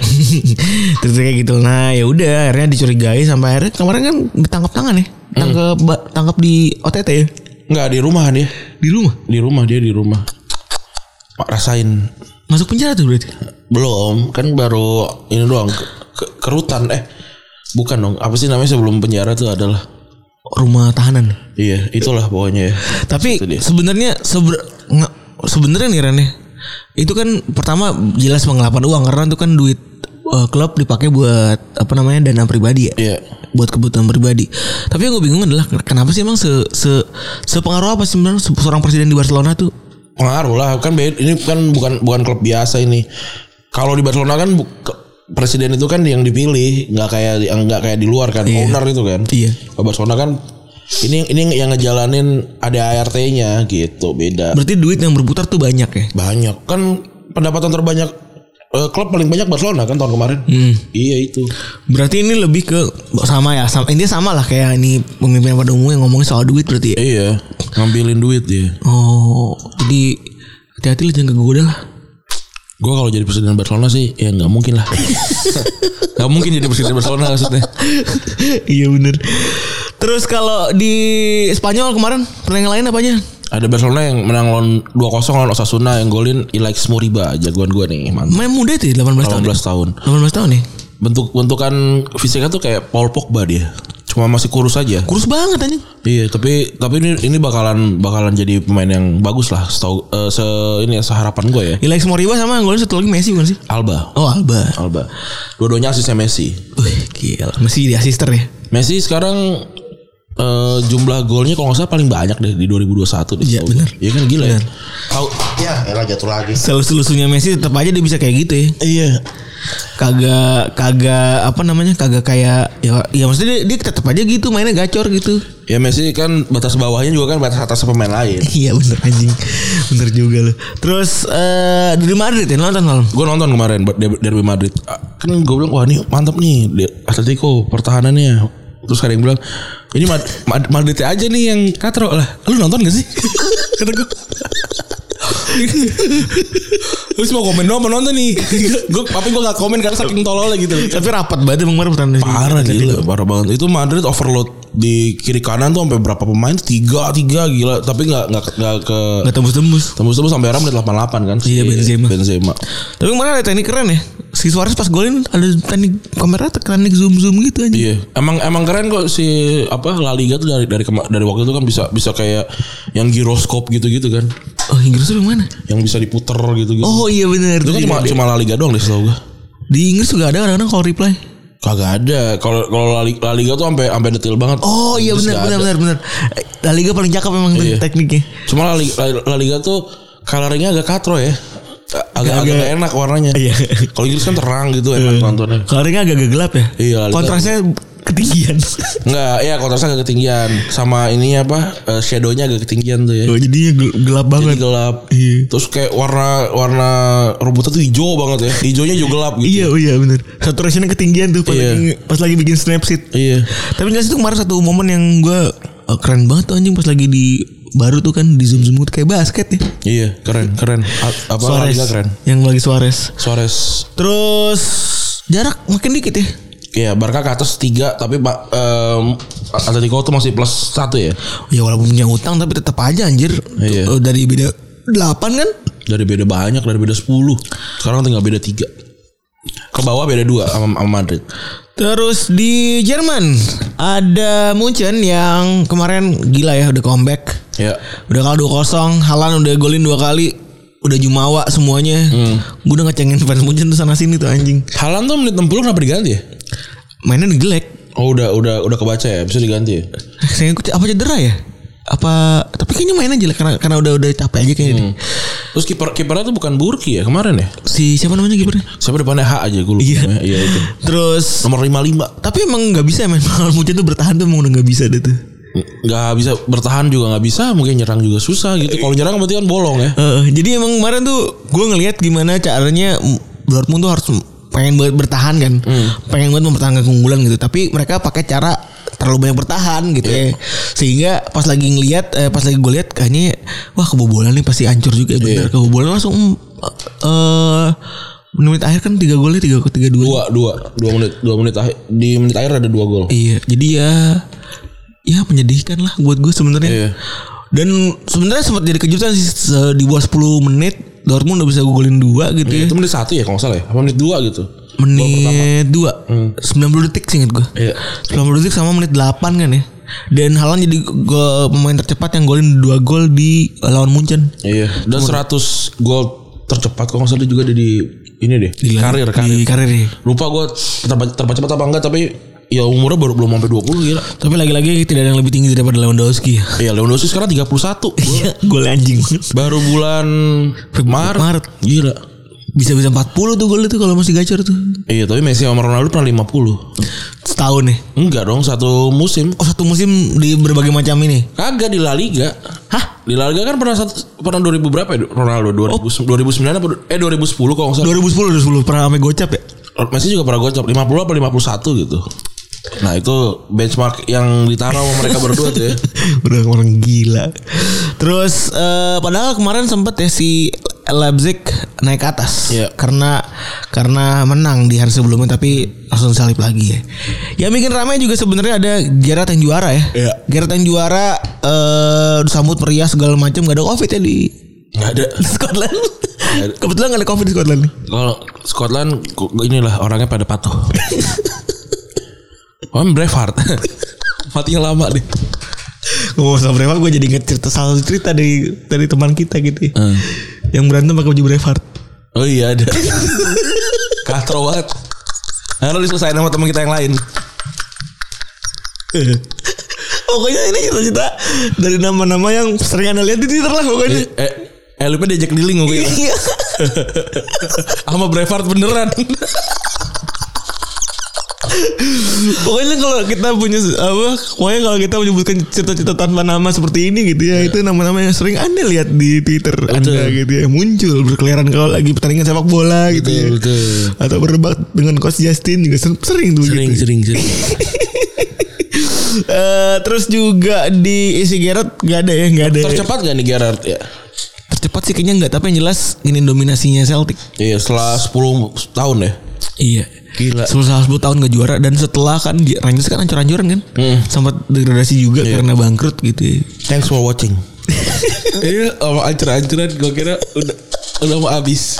Speaker 3: Terus kayak gitu. Nah, ya udah akhirnya dicurigai sampai akhirnya kemarin kan ditangkap tangan ya. Tangkap
Speaker 2: Hmm.
Speaker 3: ba- tangkap di OTT ya.
Speaker 2: nggak di rumah dia
Speaker 3: Di rumah.
Speaker 2: di rumah dia di rumah pak rasain
Speaker 3: Masuk penjara tuh berarti.
Speaker 2: belum kan baru ini doang ke, ke- ke rutan eh bukan dong apa sih namanya sebelum penjara tuh adalah
Speaker 3: Rumah tahanan.
Speaker 2: iya itulah pokoknya ya
Speaker 3: Tapi
Speaker 2: Itu dia.
Speaker 3: sebenarnya seber- nge- sebenarnya nih Ren ya. Itu kan pertama jelas penggelapan uang karena itu kan duit eh, klub dipakai buat apa namanya dana pribadi ya.
Speaker 2: iya
Speaker 3: buat kebutuhan pribadi. Tapi yang gue bingung adalah kenapa sih emang se se sepengaruh apa sih sebenarnya se- seorang presiden di Barcelona tuh?
Speaker 2: pengaruh lah kan beda- ini kan bukan bukan klub biasa ini kalau di Barcelona kan bu- ke- presiden itu kan yang dipilih nggak kayak di- nggak kayak di luar kan owner itu kan
Speaker 3: Iya.
Speaker 2: kalau Barcelona kan ini ini yang ngejalanin ada ART-nya gitu beda
Speaker 3: Berarti duit yang berputar tuh banyak ya.
Speaker 2: banyak kan pendapatan terbanyak eh, klub paling banyak Barcelona kan tahun kemarin
Speaker 3: Hmm.
Speaker 2: iya itu
Speaker 3: Berarti ini lebih ke sama ya, sama, ini sama lah kayak ini pemimpin pada umumnya ngomongin soal duit berarti ya.
Speaker 2: iya ngambilin duit dia
Speaker 3: Oh, jadi hati-hati lah jangan kegoda lah.
Speaker 2: gue kalau jadi presiden Barcelona sih ya nggak mungkin lah nggak mungkin jadi presiden Barcelona maksudnya
Speaker 3: iya bener. Terus kalau di Spanyol kemarin pertandingan lain apanya?
Speaker 2: Ada Barcelona yang menang lawan 2-0 lawan Osasuna yang golin Ilaix Moriba jagoan gue nih mantap.
Speaker 3: Main muda itu ya, 18 tahun.
Speaker 2: 18
Speaker 3: ya?
Speaker 2: tahun.
Speaker 3: 18 tahun nih.
Speaker 2: Bentuk bentukan fisiknya tuh kayak Paul Pogba dia. Cuma masih kurus aja.
Speaker 3: Kurus banget anjing.
Speaker 2: Iya, tapi tapi ini ini bakalan bakalan jadi pemain yang bagus lah. Setau, eh, se ini ya, seharapan gue ya.
Speaker 3: Ilaix Moriba sama golnya satu lagi Messi bukan sih?
Speaker 2: Alba.
Speaker 3: Oh Alba.
Speaker 2: Alba. Dua-duanya asisnya Messi.
Speaker 3: Wih, gila. Messi di asister ya.
Speaker 2: Messi sekarang eh, jumlah golnya kalau nggak salah paling banyak deh di 2021 deh.
Speaker 3: Iya,
Speaker 2: setau gua.
Speaker 3: benar.
Speaker 2: Iya kan gila ya.
Speaker 3: Benar.
Speaker 2: Tahu ya, elah jatuh lagi.
Speaker 3: Selus-selusnya Messi tetap aja dia bisa kayak gitu ya.
Speaker 2: Iya,
Speaker 3: Kagak kagak apa namanya? Kagak kayak ya ya maksudnya dia, dia tetap aja gitu mainnya gacor gitu.
Speaker 2: Ya Messi kan batas bawahnya juga kan batas atas pemain lain.
Speaker 3: Iya bener anjing. Bener juga lu. Terus eh dari Madrid ya nonton malam.
Speaker 2: Gue nonton kemarin buat der- derby Madrid. Ah, Kan gue bilang wah ini mantap nih di- Atletico pertahanannya. Terus ada yang bilang ini Mad Mad- Madrid aja nih yang katro lah. Lu nonton gak sih? Kata gue. Terus mau komen doang mau nonton nih. Gue tapi gue gak komen karena saking tololnya gitu.
Speaker 3: Tapi rapat banget emang kemarin pertandingan.
Speaker 2: Parah
Speaker 3: gitu.
Speaker 2: gila, parah banget. Itu Madrid overload di kiri kanan tuh sampai berapa pemain tuh tiga tiga gila tapi nggak nggak nggak ke
Speaker 3: Gak tembus-tembus.
Speaker 2: Tembus-tembus sampai era menit 88 kan.
Speaker 3: Iya, Benzema.
Speaker 2: Benzema.
Speaker 3: Tapi kemarin ada teknik keren ya. Si Suarez pas golin ada teknik kamera teknik zoom-zoom gitu anjing.
Speaker 2: Iya, emang emang keren kok si apa La Liga tuh dari dari kema- dari waktu itu kan bisa bisa kayak yang giroskop gitu-gitu kan,
Speaker 3: Oh, Inggris tuh yang mana?
Speaker 2: yang bisa diputer gitu-gitu.
Speaker 3: Oh iya bener
Speaker 2: itu kan cuma cuma La Liga doang deh setahu gua.
Speaker 3: Di Inggris juga ada kadang-kadang call reply.
Speaker 2: Kagak ada. Kalau kalau La, Li- La Liga tuh sampai sampai detail banget.
Speaker 3: Oh iya
Speaker 2: Terus
Speaker 3: benar
Speaker 2: nggak ada.
Speaker 3: benar benar benar. Eh, La Liga paling cakep emang tuh
Speaker 2: Iya.
Speaker 3: tekniknya.
Speaker 2: Cuma La Liga, La- La Liga tuh coloringnya agak katro ya. Agak agak,
Speaker 3: Agak-
Speaker 2: nggak enak warnanya.
Speaker 3: Iya. Hmm.
Speaker 2: Kalau Inggris kan terang gitu enak nontonnya.
Speaker 3: Coloringnya agak agak gelap ya.
Speaker 2: Iya, La Liga.
Speaker 3: Kontrasnya ketinggian.
Speaker 2: Enggak, ya kotorannya agak ketinggian. Sama ini apa? eh, shadownya agak ketinggian tuh ya.
Speaker 3: Oh, jadinya gel- gelap banget.
Speaker 2: Jadi gelap.
Speaker 3: Iya.
Speaker 2: Terus kayak warna warna robotnya tuh hijau banget ya. Hijaunya juga gelap gitu.
Speaker 3: Iya, oh iya bener. Saturationnya ketinggian tuh pas,
Speaker 2: Iya.
Speaker 3: lagi, pas lagi bikin snapseed.
Speaker 2: Iya.
Speaker 3: Tapi jelas itu kemarin satu momen yang gue keren banget tuh anjing pas lagi di baru tuh kan di zoom zoom tuh kayak basket ya.
Speaker 2: Iya, keren, keren. A- apa La Liga keren.
Speaker 3: Yang lagi Suarez.
Speaker 2: Suarez
Speaker 3: Terus jarak makin dikit ya.
Speaker 2: Iya, Barca ke atas 3 tapi Pak em, Atletico tuh masih plus 1 ya
Speaker 3: Ya walaupun punya utang tapi tetap aja anjir.
Speaker 2: Iya.
Speaker 3: Tuh, eh, Dari beda 8 kan?
Speaker 2: dari beda banyak dari beda 10. Sekarang tinggal beda 3. Ke bawah beda 2 sama, sama Madrid.
Speaker 3: Terus di Jerman ada Munchen yang kemarin gila ya udah comeback.
Speaker 2: Ya.
Speaker 3: Udah kalah 2-0, Halan udah golin dua kali. Udah jumawa semuanya. Gue udah ngecengin fans Munchen tuh sana sini tuh anjing.
Speaker 2: Halan tuh menit 60 kenapa diganti ya?
Speaker 3: Mainnya jelek.
Speaker 2: Oh udah udah udah kebaca ya, bisa diganti ya.
Speaker 3: Saya ikut apa cedera ya? Apa tapi kayaknya mainnya jelek karena karena udah udah capek aja kayaknya. deh.
Speaker 2: Terus kiper kipernya tuh bukan Burki ya kemarin ya?
Speaker 3: Si siapa namanya kipernya?
Speaker 2: Siapa depannya H aja gue lupa. Iya. iya itu.
Speaker 3: Terus
Speaker 2: Nomor 55.
Speaker 3: tapi emang nggak bisa ya main Bayern Munchen tuh bertahan tuh emang udah nggak bisa deh tuh.
Speaker 2: Gak bisa bertahan juga nggak bisa, mungkin nyerang juga susah gitu. Kalau nyerang berarti kan bolong ya.
Speaker 3: Eh, jadi emang kemarin tuh gue ngelihat gimana caranya Dortmund tuh harus pengen banget bertahan kan, pengen banget mempertahankan keunggulan gitu. Tapi mereka pakai cara terlalu banyak bertahan gitu ya. Sehingga pas lagi ngelihat, eh, pas lagi gue lihat kayaknya wah kebobolan nih pasti hancur juga ya bener. Kebobolan langsung mm, eh menit akhir kan tiga golnya tiga tiga dua.
Speaker 2: Dua, dua, dua menit, dua menit akhir di menit akhir ada dua gol.
Speaker 3: Iya, jadi ya ya menyedihkan lah buat gue sebenarnya.
Speaker 2: Iya.
Speaker 3: Dan sebenarnya sempat jadi kejutan sih se- di bawah 10 menit Dortmund udah bisa golin dua gitu ya.
Speaker 2: Itu menit satu ya kalau nggak salah ya. Apa menit dua gitu.
Speaker 3: Menit 2 90 detik sih ingat gue
Speaker 2: Hmm. Iya.
Speaker 3: 90 detik sama menit 8 kan ya Dan Halan jadi go- pemain tercepat yang golin 2 gol di eh, lawan Munchen
Speaker 2: Iya. Dan 100 gol tercepat kalau nggak salah dia juga ada di ini deh.
Speaker 3: Di-
Speaker 2: karir
Speaker 3: Di
Speaker 2: karir.
Speaker 3: karir ya.
Speaker 2: Lupa gue terbaca terbaca cepat apa enggak tapi ya umurnya baru belum sampai 20 gila.
Speaker 3: Tapi lagi-lagi tidak ada yang lebih tinggi daripada Lewandowski ya
Speaker 2: Iya Lewandowski sekarang 31.
Speaker 3: Iya gol anjing
Speaker 2: baru bulan Maret.
Speaker 3: Maret.
Speaker 2: Gila.
Speaker 3: Bisa-bisa 40 tuh gol itu kalau masih gacor tuh
Speaker 2: Iya tapi Messi sama Ronaldo pernah 50.
Speaker 3: Setahun ya
Speaker 2: Enggak dong satu musim.
Speaker 3: Oh satu musim di berbagai macam ini.
Speaker 2: Kagak di La Liga.
Speaker 3: Hah?
Speaker 2: Di La Liga kan pernah satu, pernah 2000 berapa ya Ronaldo 2000, 2009 apa eh 2010 kalau nggak salah.
Speaker 3: 2010 2010 pernah sampai gocap ya?
Speaker 2: Messi juga pernah gocap 50 apa 51 gitu. Nah itu benchmark yang ditaruh sama mereka berdua tuh ya.
Speaker 3: Udah orang gila. Terus eh, padahal kemarin sempet ya si Leipzig naik ke atas
Speaker 2: Iya.
Speaker 3: karena karena menang di hari sebelumnya tapi langsung salib lagi ya. Yang bikin ramai juga sebenarnya ada Gerard yang juara ya.
Speaker 2: Iya.
Speaker 3: Gerard yang juara eh disambut meriah segala macam gak ada covid ya di
Speaker 2: Nggak ada.
Speaker 3: Scotland. Kebetulan gak ada covid di Scotland nih.
Speaker 2: Kalau Scotland ku- inilah orangnya pada patuh. Om Braveheart. Matinya lama deh.
Speaker 3: Ngomong sama Brevard gue jadi inget cerita salah satu cerita dari dari teman kita gitu ya.
Speaker 2: Hmm.
Speaker 3: Yang berantem pakai baju Brevard.
Speaker 2: Oh iya ada. Katro banget. Harus diselesain sama teman kita yang lain.
Speaker 3: pokoknya ini cerita-cerita dari nama-nama yang sering anda lihat di Twitter lah pokoknya.
Speaker 2: Eh, eh lupa diajak dealing gue.
Speaker 3: Iya.
Speaker 2: Sama Braveheart beneran.
Speaker 3: pokoknya kalau kita punya apa, pokoknya kalau kita menyebutkan cerita-cerita tanpa nama seperti ini gitu
Speaker 2: Iya.
Speaker 3: ya, itu nama-nama yang sering anda lihat di Twitter anda gitu ya muncul berkeliaran kalau lagi pertandingan sepak bola gitu ya.
Speaker 2: betul.
Speaker 3: Atau berdebat dengan Coach Justin juga ser- sering tuh gitu.
Speaker 2: Sering, sering, sering.
Speaker 3: Eh, terus juga di isi Gerard gak ada ya nggak ada ya.
Speaker 2: Tercepat gak nih Gerard ya?
Speaker 3: tercepat sih kayaknya nggak tapi yang jelas ini dominasinya Celtic
Speaker 2: Iya, setelah 10 tahun ya.
Speaker 3: iya
Speaker 2: Gila.
Speaker 3: setelah 10 tahun gak juara dan setelah kan di- Rangers kan ancur-ancuran kan sempat degradasi juga karena bangkrut gitu ya.
Speaker 2: Thanks for watching. Ini Iya, sama ancur-ancuran gue kira udah udah mau habis.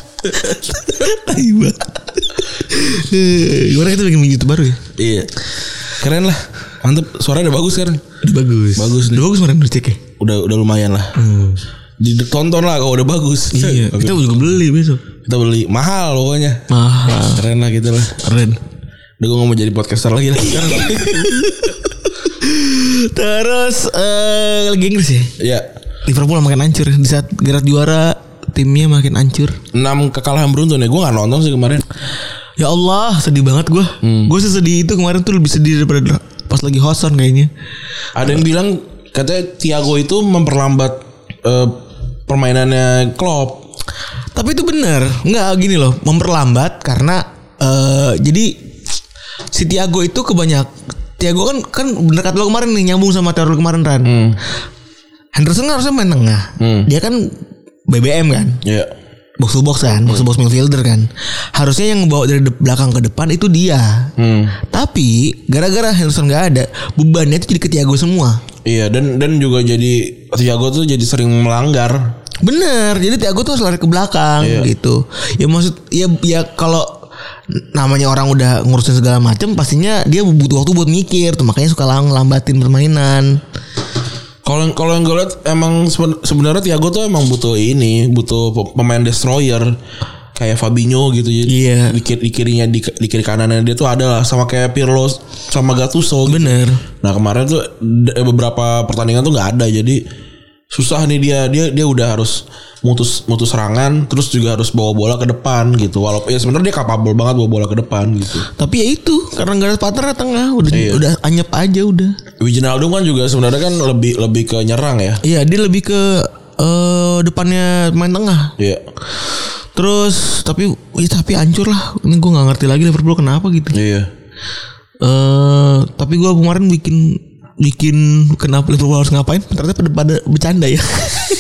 Speaker 3: Tai banget. Eh, gimana kita bikin YouTube baru ya
Speaker 2: Iya. Keren lah. Mantep. Suara udah bagus kan?
Speaker 3: Udah bagus Hmm. bagus udah bagus kemarin udah cek ya
Speaker 2: Udah udah lumayan lah. Ditonton lah kalau udah bagus.
Speaker 3: iya
Speaker 2: Oke.
Speaker 3: kita juga beli besok
Speaker 2: Kita beli mahal pokoknya.
Speaker 3: mahal
Speaker 2: Keren lah gitu lah.
Speaker 3: keren
Speaker 2: Udah gue mau jadi podcaster lagi lah.
Speaker 3: terus eh lagi Inggris ya
Speaker 2: ya.
Speaker 3: Liverpool makin hancur di saat Gerard juara timnya makin hancur
Speaker 2: 6 kekalahan beruntun ya. Gue gak nonton sih kemarin.
Speaker 3: Ya Allah sedih banget gue. Gue sih sedih itu kemarin tuh lebih sedih daripada pas lagi hoson kayaknya.
Speaker 2: Ada yang bilang katanya Thiago itu memperlambat eh, permainannya Klopp.
Speaker 3: Tapi itu benar, nggak gini loh, memperlambat karena eh jadi si Tiago itu kebanyak Tiago kan kan bener kata lo kemarin nih nyambung sama teori lo kemarin Ran. Henderson kan harusnya main tengah. Dia kan BBM kan.
Speaker 2: Ya.
Speaker 3: Box to box kan, box to box midfielder kan. Harusnya yang bawa dari de- belakang ke depan itu dia.
Speaker 2: Hmm.
Speaker 3: Tapi gara-gara Henderson nggak ada, bebannya itu jadi ke Tiago semua.
Speaker 2: Iya dan dan juga jadi Thiago tuh jadi sering melanggar.
Speaker 3: Bener, jadi Tiago tuh harus lari ke belakang
Speaker 2: Iya.
Speaker 3: gitu. Ya maksud ya ya kalau namanya orang udah ngurusin segala macam pastinya dia butuh waktu buat mikir tuh makanya suka lang lambatin permainan.
Speaker 2: Kalau yang- kalau yang gue lihat emang seben- sebenarnya Thiago tuh emang butuh ini, butuh pe- pemain destroyer kayak Fabinho gitu jadi
Speaker 3: Iya.
Speaker 2: di, kiri, di kirinya di, ke- di kiri kanannya dia tuh ada lah sama kayak Pirlo sama Gattuso gitu.
Speaker 3: Bener.
Speaker 2: Nah kemarin tuh d- beberapa pertandingan tuh nggak ada jadi susah nih dia dia dia udah harus mutus mutus serangan terus juga harus bawa bola ke depan gitu walaupun ya sebenarnya dia capable banget bawa bola ke depan gitu.
Speaker 3: Tapi ya itu karena nggak ada partner di tengah udah
Speaker 2: Iya.
Speaker 3: udah anyep aja udah.
Speaker 2: Wijnaldum kan juga sebenarnya kan lebih lebih ke nyerang ya.
Speaker 3: Iya dia lebih ke eh, depannya main tengah.
Speaker 2: Iya.
Speaker 3: Terus tapi ya, tapi hancur lah. Ini gue nggak ngerti lagi Liverpool kenapa gitu.
Speaker 2: Iya.
Speaker 3: eh tapi gua kemarin bikin bikin kenapa Liverpool harus ngapain ternyata pada, pada bercanda ya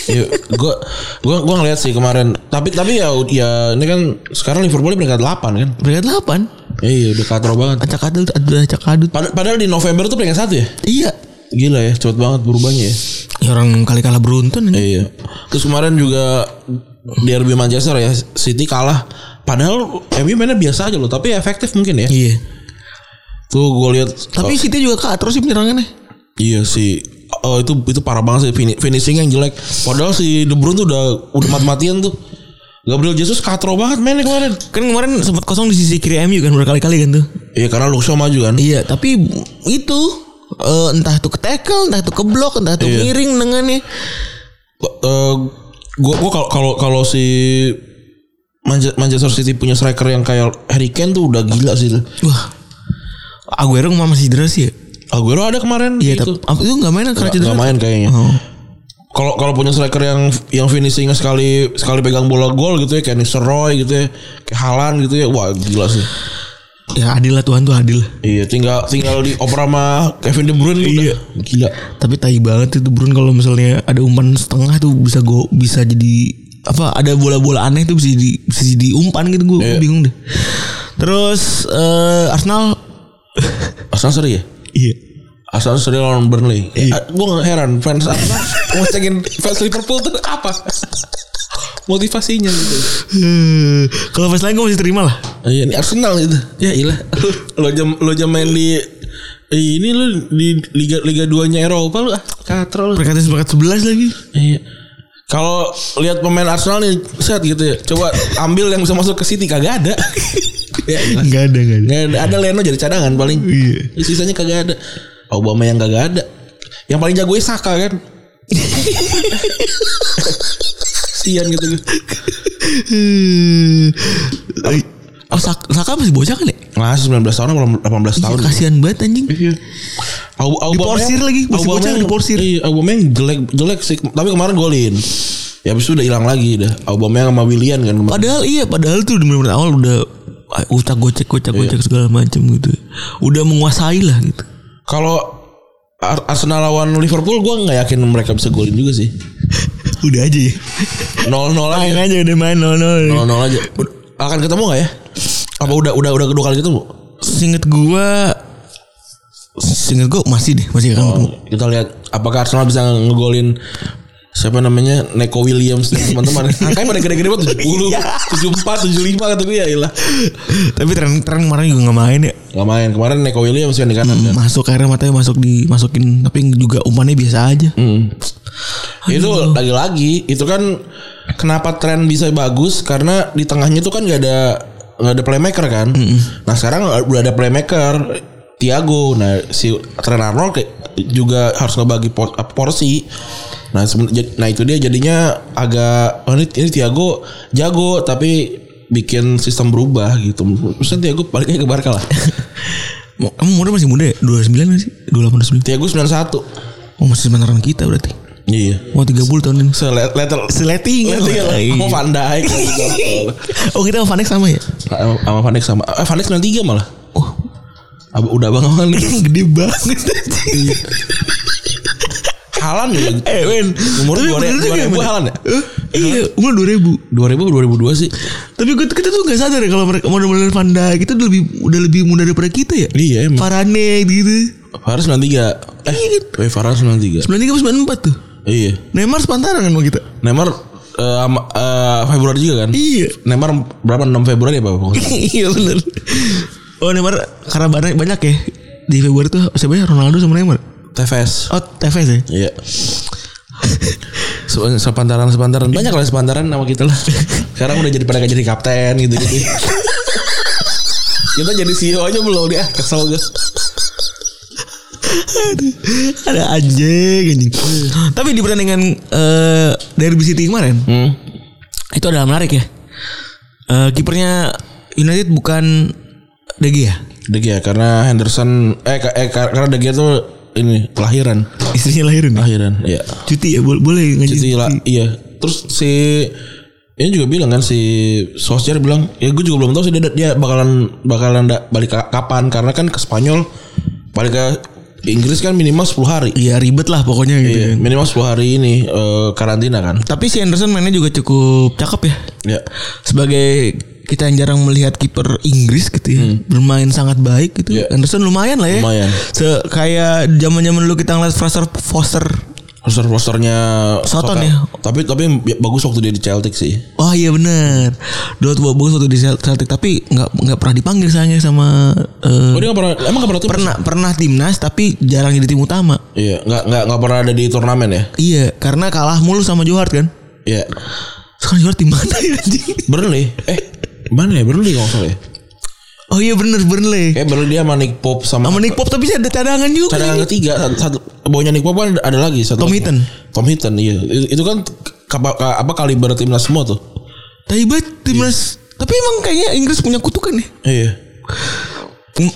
Speaker 2: Iya, gua gua gua ngeliat sih kemarin. Tapi tapi ya ya ini kan sekarang Liverpool peringkat 8 kan.
Speaker 3: peringkat 8
Speaker 2: Iya, iya udah katro banget.
Speaker 3: acak adut ada acak adut
Speaker 2: Pad- padahal di November tuh peringkat satu ya.
Speaker 3: iya
Speaker 2: Gila ya, cepet banget berubahnya ya.
Speaker 3: ya orang kali kalah beruntun ini.
Speaker 2: Iya. Terus kemarin juga derby Manchester ya City kalah. Padahal MU mainnya biasa aja loh, tapi efektif mungkin ya.
Speaker 3: iya
Speaker 2: Tuh gue lihat. oh,
Speaker 3: tapi City juga kalah terus sih penyerangnya nih
Speaker 2: iya sih. Oh itu itu parah banget sih Fini- finishing yang jelek. Padahal si De Bruyne tuh udah udah mati-matian tuh. Gabriel Jesus katro banget mainnya kemarin.
Speaker 3: kan kemarin sempat kosong di sisi kiri MU kan berkali-kali kan tuh
Speaker 2: Iya karena Luxo maju kan.
Speaker 3: iya tapi itu eh, entah itu ke tackle entah itu ke blok entah itu
Speaker 2: Iya.
Speaker 3: miring dengannya
Speaker 2: Eh, Gue gua kalau kalau kalau si Manche- Manchester City punya striker yang kayak Harry Kane tuh udah gila sih.
Speaker 3: wah Aguero kemarin masih cedera sih ya?
Speaker 2: Aguero ada kemarin
Speaker 3: Iya,
Speaker 2: gitu.
Speaker 3: tapi apa itu nggak main kan karena
Speaker 2: Nggak-
Speaker 3: cedera.
Speaker 2: nggak main kayaknya.
Speaker 3: Oh.
Speaker 2: kalau kalau punya striker yang yang finishingnya sekali sekali pegang bola gol gitu ya kayak Nisroy gitu ya kayak Halan gitu ya wah gila sih
Speaker 3: Ya adil lah Tuhan tuh adil.
Speaker 2: iya tinggal tinggal di opera sama Kevin De Bruyne iya. gila
Speaker 3: Tapi tai banget itu Brun kalau misalnya ada umpan setengah tuh bisa go bisa jadi apa ada bola-bola aneh tuh bisa jadi bisa jadi umpan gitu gue
Speaker 2: Iya.
Speaker 3: bingung deh. Terus eh, Arsenal
Speaker 2: Arsenal seri ya
Speaker 3: iya.
Speaker 2: Arsenal seri lawan Burnley iya. gue nggak heran fans Arsenal mau cekin fans Liverpool tuh apa motivasinya gitu
Speaker 3: Eh, kalau fans lain gue masih terima lah.
Speaker 2: iya ini Arsenal gitu ya ilah lo jam lo jam main di eh, ini lu di liga liga 2 nya Eropa lu ah katrol
Speaker 3: Perkataan sepakat 11 lagi.
Speaker 2: Iya. Kalau lihat pemain Arsenal nih set gitu ya. Coba ambil yang bisa masuk ke City kagak ada. ya, ilah.
Speaker 3: Enggak ada enggak
Speaker 2: Nggak ada. ada Leno jadi cadangan paling.
Speaker 3: Iya.
Speaker 2: Sisanya kagak ada. Obama yang kagak ada. Yang paling jago Saka kan. Sian gitu.
Speaker 3: Eh, Oh, Sak- Saka masih bocah kan ya? Iya,
Speaker 2: Nah, 19 tahun belum 18 tahun.
Speaker 3: Kasihan banget anjing.
Speaker 2: Iya. Au- Aubameyang-
Speaker 3: Diporsir lagi, masih
Speaker 2: Aubameyang-
Speaker 3: bocah diporsir.
Speaker 2: Iya, Aubameyang jelek jelek sih. Tapi kemarin golin. Ya habis itu udah hilang lagi dah. Aubameyang sama Willian kan kemarin.
Speaker 3: Padahal iya, padahal tuh di menit awal udah ah, utak gocek gocek
Speaker 2: Iya.
Speaker 3: gocek segala macam gitu. Udah menguasai lah gitu.
Speaker 2: Kalau Ar- Arsenal lawan Liverpool gue nggak yakin mereka bisa golin juga sih.
Speaker 3: udah aja ya.
Speaker 2: 0-0 aja.
Speaker 3: Main aja udah main 0-0.
Speaker 2: 0-0 aja. Ud- Akan ketemu nggak ya? Apa udah udah udah kedua kali ketemu?
Speaker 3: Singkat gua Singkat gua masih deh, masih akan ketemu.
Speaker 2: Kita lihat apakah Arsenal bisa ngegolin siapa namanya Neko Williams dan teman-teman. Angkanya pada gede-gede banget 70, 74, 75 kata gue ya ilah.
Speaker 3: Tapi tren tren kemarin juga nggak main ya.
Speaker 2: Gak main. Kemarin Neko Williams kan di kanan kan.
Speaker 3: Masuk akhirnya matanya masuk dimasukin tapi juga umpannya biasa aja.
Speaker 2: Hmm. Itu lagi-lagi itu kan kenapa tren bisa bagus karena di tengahnya itu kan nggak ada nggak ada playmaker kan. Nah sekarang udah ada playmaker Tiago. Nah si Trent Arnold kayak juga harus ngebagi por- apa, porsi. Nah seben- jad- nah itu dia jadinya agak oh, ini, ini Tiago jago tapi bikin sistem berubah gitu. Terus nanti aku baliknya ke Barca lah.
Speaker 3: Mo- Emang umurnya masih muda ya? 29 gak sih? 28, 29
Speaker 2: Tiago 91.
Speaker 3: Oh masih sebenarnya kita berarti
Speaker 2: Iya.
Speaker 3: Oh 30 tahun ini
Speaker 2: So, let, let,
Speaker 3: Seletingan Iya.
Speaker 2: Mau Van Dijk.
Speaker 3: Oh kita sama Vanek sama ya?
Speaker 2: Sama Van Dijk sama. Eh, Van Dijk 93 malah.
Speaker 3: Oh
Speaker 2: Ab- Udah abang abang nih.
Speaker 3: gede banget
Speaker 2: Halan ya.
Speaker 3: Eh men
Speaker 2: Umur
Speaker 3: Tapi
Speaker 2: dua
Speaker 3: bener juga,
Speaker 2: ribu
Speaker 3: men.
Speaker 2: halan ya.
Speaker 3: Eh, Iya umur 2000
Speaker 2: 2000 2002 sih.
Speaker 3: Tapi gue kita tuh gak sadar ya kalau mereka model-model Vanda gitu udah lebih udah lebih muda daripada kita ya.
Speaker 2: Iya emang.
Speaker 3: Farane gitu.
Speaker 2: Farhan 93. Eh, Wei Farhan 93.
Speaker 3: 93 apa 94 tuh.
Speaker 2: Iya.
Speaker 3: Neymar sepantaran kan sama kita.
Speaker 2: Neymar eh, ama- eh, Februari juga kan?
Speaker 3: Iya.
Speaker 2: Neymar berapa 6 Februari ya Bapak?
Speaker 3: iya benar. Oh Neymar karena banyak, banyak ya. Di Februari tuh siapa ya Ronaldo sama Neymar.
Speaker 2: TVS.
Speaker 3: Oh Tevez ya.
Speaker 2: Iya. Se- sepantaran sepantaran banyak lah sepantaran nama kita lah. Sekarang udah jadi pada gak jadi kapten gitu gitu. kita jadi CEO aja belum dia kesel gue.
Speaker 3: Ada anjing anjing. Tapi di pertandingan eh Derby City kemarin
Speaker 2: Hmm.
Speaker 3: itu adalah menarik ya. Eh kipernya United bukan De Gea.
Speaker 2: De Gea karena Henderson eh, ka- eh kar- karena De Gea tuh ini kelahiran
Speaker 3: Istrinya lahirin ya.
Speaker 2: lahiran iya
Speaker 3: Cuti ya boleh, boleh nggak
Speaker 2: jadi lah iya terus si ini juga bilang kan si Solskjaer bilang ya gue juga belum tahu sih dia, dia bakalan bakalan da- balik ka- kapan karena kan ke Spanyol balik ke Inggris kan minimal 10 hari
Speaker 3: Iya ribet lah pokoknya gitu.
Speaker 2: Iya,
Speaker 3: ya.
Speaker 2: minimal 10 hari ini eh, karantina kan.
Speaker 3: Tapi si Anderson mainnya juga cukup cakep ya.
Speaker 2: Ya.
Speaker 3: Sebagai kita yang jarang melihat kiper Inggris gitu ya, bermain sangat baik gitu.
Speaker 2: Iya.
Speaker 3: Anderson lumayan lah ya.
Speaker 2: Lumayan.
Speaker 3: Se kayak zaman-zaman dulu kita ngeliat Fraser Foster.
Speaker 2: Roster-rosternya
Speaker 3: Soton
Speaker 2: Sota-
Speaker 3: ya?
Speaker 2: Tapi tapi bagus waktu dia di Celtic sih.
Speaker 3: Oh iya bener Dua tua bagus waktu di Cel- Celtic tapi nggak nggak pernah dipanggil sayangnya sama eh,
Speaker 2: Oh, dia gak pernah emang gak pernah tim?
Speaker 3: pernah pernah timnas tapi jarang jadi tim utama.
Speaker 2: Iya, gak, gak, gak pernah ada di turnamen ya.
Speaker 3: Iya, karena kalah mulu sama Johar kan.
Speaker 2: Iya.
Speaker 3: Sekarang Johar tim mana ya anjing?
Speaker 2: Burnley. Eh, mana ya Burnley kalau nggak salah ya?
Speaker 3: Oh iya bener Burnley.
Speaker 2: Kayak Burnley dia sama Nick Pope sama
Speaker 3: Sama Nick Pop tapi ada cadangan juga.
Speaker 2: cadangan ketiga satu, satu bawahnya Nick Pope kan ada- ada lagi satu
Speaker 3: Tom
Speaker 2: lagi.
Speaker 3: Heaton.
Speaker 2: Tom Heaton iya. Itu, itu kan kapa- ka- apa kaliber timnas semua tuh.
Speaker 3: Tai banget timnas. Tapi emang kayaknya Inggris punya kutukan nih.
Speaker 2: Iya.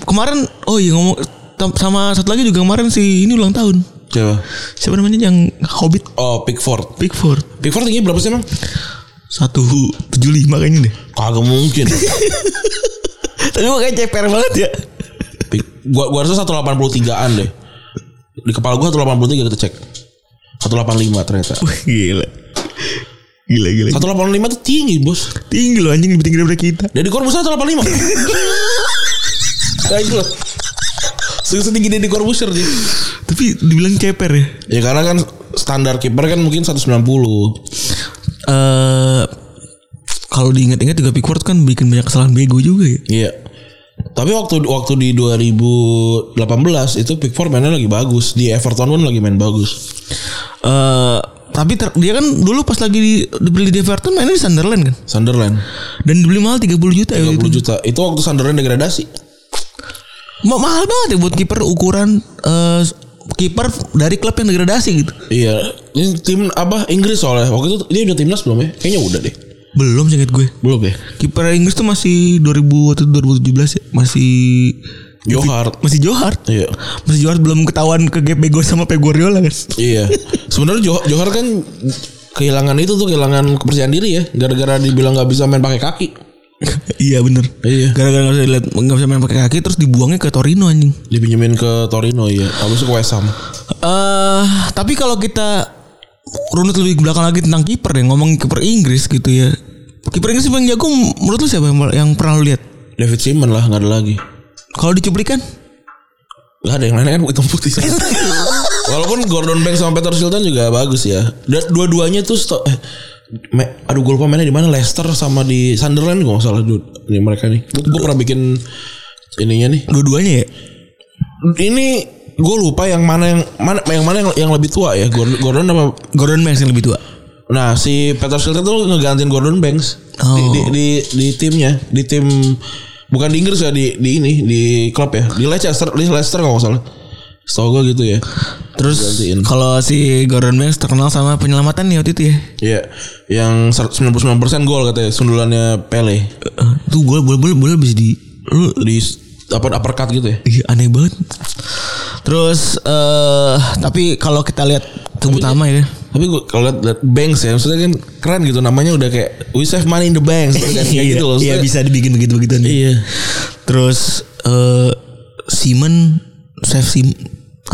Speaker 3: Kemarin oh iya ngomong tam- sama satu lagi juga kemarin si ini ulang tahun.
Speaker 2: Coba.
Speaker 3: Siapa namanya yang Hobbit
Speaker 2: Oh, Pickford.
Speaker 3: Pickford
Speaker 2: Pickford tinggi berapa sih emang?
Speaker 3: 175 kayaknya deh.
Speaker 2: Kagak mungkin.
Speaker 3: Tapi emang kayak ceper banget ya.
Speaker 2: Pik- Gua gua rasa 183-an deh. Di kepala gua 183 kita cek. 185 ternyata.
Speaker 3: Wih, gila. Gila gila.
Speaker 2: 185 tuh tinggi, Bos.
Speaker 3: Tinggi loh anjing lebih tinggi daripada kita.
Speaker 2: Dari Corbusier 185. Kayak itu loh. Se- Setinggi Deddy Corbusier sih.
Speaker 3: Tapi dibilang ceper ya.
Speaker 2: Ya karena kan standar kiper kan mungkin 190.
Speaker 3: Eh kalau diingat-ingat juga Pickford kan bikin banyak kesalahan bego juga ya.
Speaker 2: Iya. Tapi waktu waktu di 2018 itu Pickford mainnya lagi bagus. Di Everton pun lagi main bagus.
Speaker 3: Eh tapi ter- dia kan dulu pas lagi di, dibeli di Everton mainnya di Sunderland kan.
Speaker 2: Sunderland
Speaker 3: Dan dibeli mahal 30 juta ya
Speaker 2: 30
Speaker 3: itu.
Speaker 2: juta. Itu waktu Sunderland degradasi.
Speaker 3: Ma- mahal banget ya buat kiper ukuran eh kiper dari klub yang degradasi gitu.
Speaker 2: Iya, ini tim apa Inggris soalnya. Waktu itu dia udah timnas belum ya? Kayaknya udah deh.
Speaker 3: Belum singkat gue.
Speaker 2: Belum ya?
Speaker 3: Kiper Inggris tuh masih 2000 atau 2017 ya, masih
Speaker 2: Johar.
Speaker 3: masih Johar.
Speaker 2: Iya.
Speaker 3: Masih Johar belum ketahuan ke Gap Bego sama Pep Guardiola kan.
Speaker 2: Iya. Sebenarnya Johar, Johar kan kehilangan itu tuh kehilangan kepercayaan diri ya gara-gara dibilang nggak bisa main pakai kaki.
Speaker 3: iya bener
Speaker 2: Iya.
Speaker 3: Gara-gara gak bisa, lihat, gak bisa main pakai kaki terus dibuangnya ke Torino anjing.
Speaker 2: Dipinjemin ke Torino ya. Habis itu ke West Ham.
Speaker 3: Eh, tapi kalau kita runut lebih ke belakang lagi tentang kiper deh, ngomong kiper Inggris gitu ya. Kiper Inggris yang jago menurut lu siapa yang, yang pernah lu lihat?
Speaker 2: David Simon lah nggak ada lagi.
Speaker 3: Kalau dicuplikan?
Speaker 2: Gak ada yang lain kan hitam putih. Walaupun Gordon Banks sama Peter Shilton juga bagus ya. Dan dua-duanya tuh sto- eh, me- aduh gue lupa mainnya di mana Leicester sama di Sunderland gue salah dude. Ini mereka nih. Gue pernah bikin ininya nih.
Speaker 3: Dua-duanya ya?
Speaker 2: Ini gue lupa yang mana yang mana yang mana yang, yang lebih tua ya Gordon, Gordon apa
Speaker 3: Gordon Banks yang lebih tua.
Speaker 2: Nah si Peter Shilton tuh ngegantiin Gordon Banks di,
Speaker 3: Oh.
Speaker 2: di, di, di timnya di tim bukan di Inggris ya di, di ini di klub ya di Leicester di Leicester kalau nggak salah Setahu gue gitu ya.
Speaker 3: Terus
Speaker 2: Gantiin.
Speaker 3: kalau si Gordon Banks terkenal sama penyelamatan nih waktu itu ya.
Speaker 2: Iya, yang 99% gol katanya sundulannya Pele
Speaker 3: Eh, Tuh gue boleh boleh boleh bisa di lu
Speaker 2: di s- apa uppercut gitu ya.
Speaker 3: ih, aneh banget. Terus eh tapi kalau kita lihat tubuh utama ya.
Speaker 2: Tapi gue kalau liat, liat Banks ya, maksudnya kan keren gitu namanya udah kayak we save money in the banks gitu, kan, kayak gitu loh. maksudnya.
Speaker 3: Iya bisa dibikin begitu begituan.
Speaker 2: Iya.
Speaker 3: Terus eh Simon Chef Sim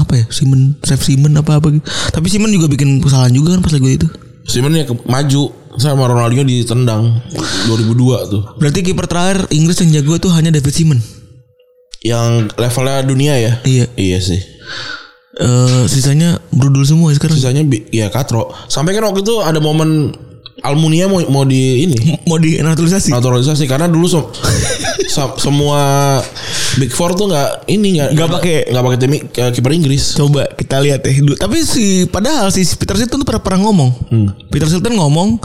Speaker 3: apa ya Simon Chef Simon apa apa gitu. Tapi Simon juga bikin kesalahan juga kan pas lagu itu.
Speaker 2: Simon ya ke- maju sama Ronaldinho ditendang 2002 tuh.
Speaker 3: Berarti kiper terakhir Inggris yang jago itu hanya David Simon.
Speaker 2: Yang levelnya dunia ya.
Speaker 3: Iya.
Speaker 2: Iya sih.
Speaker 3: Eh sisanya brudul semua sekarang.
Speaker 2: Sisanya bi- ya katro. Sampai kan waktu itu ada momen Almunia mau mau di ini
Speaker 3: M- Mau dinaturalisasi.
Speaker 2: naturalisasi karena dulu sem- sem- semua Big Four tuh nggak ini nggak
Speaker 3: Nggak pakai-
Speaker 2: nggak pakai tim I- eh, kiper Inggris.
Speaker 3: Coba kita lihat ya. Du- Tapi si padahal si Peter Shilton tuh pernah pernah ngomong. Peter Shilton ngomong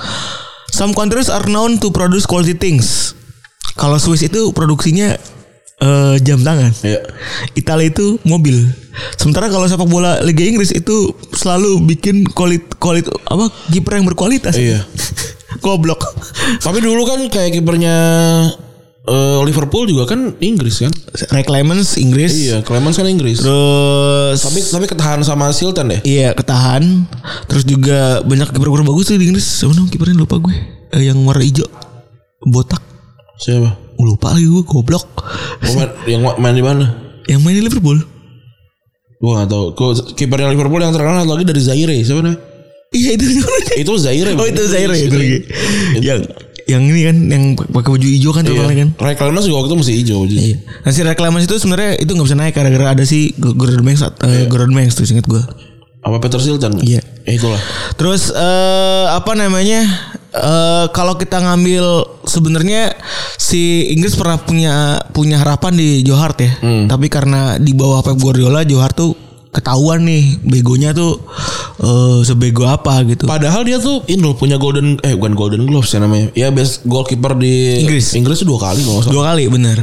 Speaker 3: some countries are known to produce quality things. Kalau Swiss itu produksinya eh, jam tangan.
Speaker 2: Iya.
Speaker 3: Italia itu mobil. Sementara kalau sepak bola Liga Inggris itu selalu bikin kualit kualit apa kiper yang berkualitas.
Speaker 2: Iya.
Speaker 3: Goblok.
Speaker 2: Tapi dulu kan kayak kipernya eh, Liverpool juga kan Inggris kan.
Speaker 3: Ray Clemens Inggris.
Speaker 2: Iya, Clemens kan Inggris.
Speaker 3: Terus
Speaker 2: Tapi tapi ketahan sama Silton deh.
Speaker 3: Iya ketahan Terus juga banyak kiper-kiper bagus tuh di Inggris Siapa namanya kipernya lupa gue Eh, Yang warna hijau Botak
Speaker 2: Siapa?
Speaker 3: Oh, Lupa lagi gue goblok
Speaker 2: Pemain yang ma- main di mana?
Speaker 3: Yang main di Liverpool
Speaker 2: Gua gak tahu. Gua- Kipernya Liverpool yang terkenal satu lagi dari Zaire, siapa namanya? Eh,
Speaker 3: Iya itu
Speaker 2: Itu Zaire.
Speaker 3: Oh itu
Speaker 2: bukan?
Speaker 3: Zaire ya itu lagi.
Speaker 2: Itu.
Speaker 3: Yang yang ini kan Yang pakai baju hijau kan
Speaker 2: Iya.
Speaker 3: terkenalnya kan
Speaker 2: Ray Clemens juga waktu itu masih hijau. Jadi.
Speaker 3: Iya. Nah si reklamasi itu sebenarnya itu nggak bisa naik gara-gara ada si Gordon Banks, eh, Gordon Banks tuh inget gue.
Speaker 2: Apa Peter Shilton?
Speaker 3: Iya.
Speaker 2: Ya, itulah.
Speaker 3: Terus eh apa namanya? Eh kalau kita ngambil sebenarnya si Inggris pernah punya punya harapan di Johart ya. Tapi karena di bawah Pep Guardiola Johart tuh ketahuan nih begonya tuh eh sebego apa gitu.
Speaker 2: Padahal dia tuh ini loh punya golden eh bukan golden gloves ya namanya. Ya best goalkeeper di
Speaker 3: Inggris.
Speaker 2: Inggris tuh dua kali kalau nggak salah.
Speaker 3: dua kali bener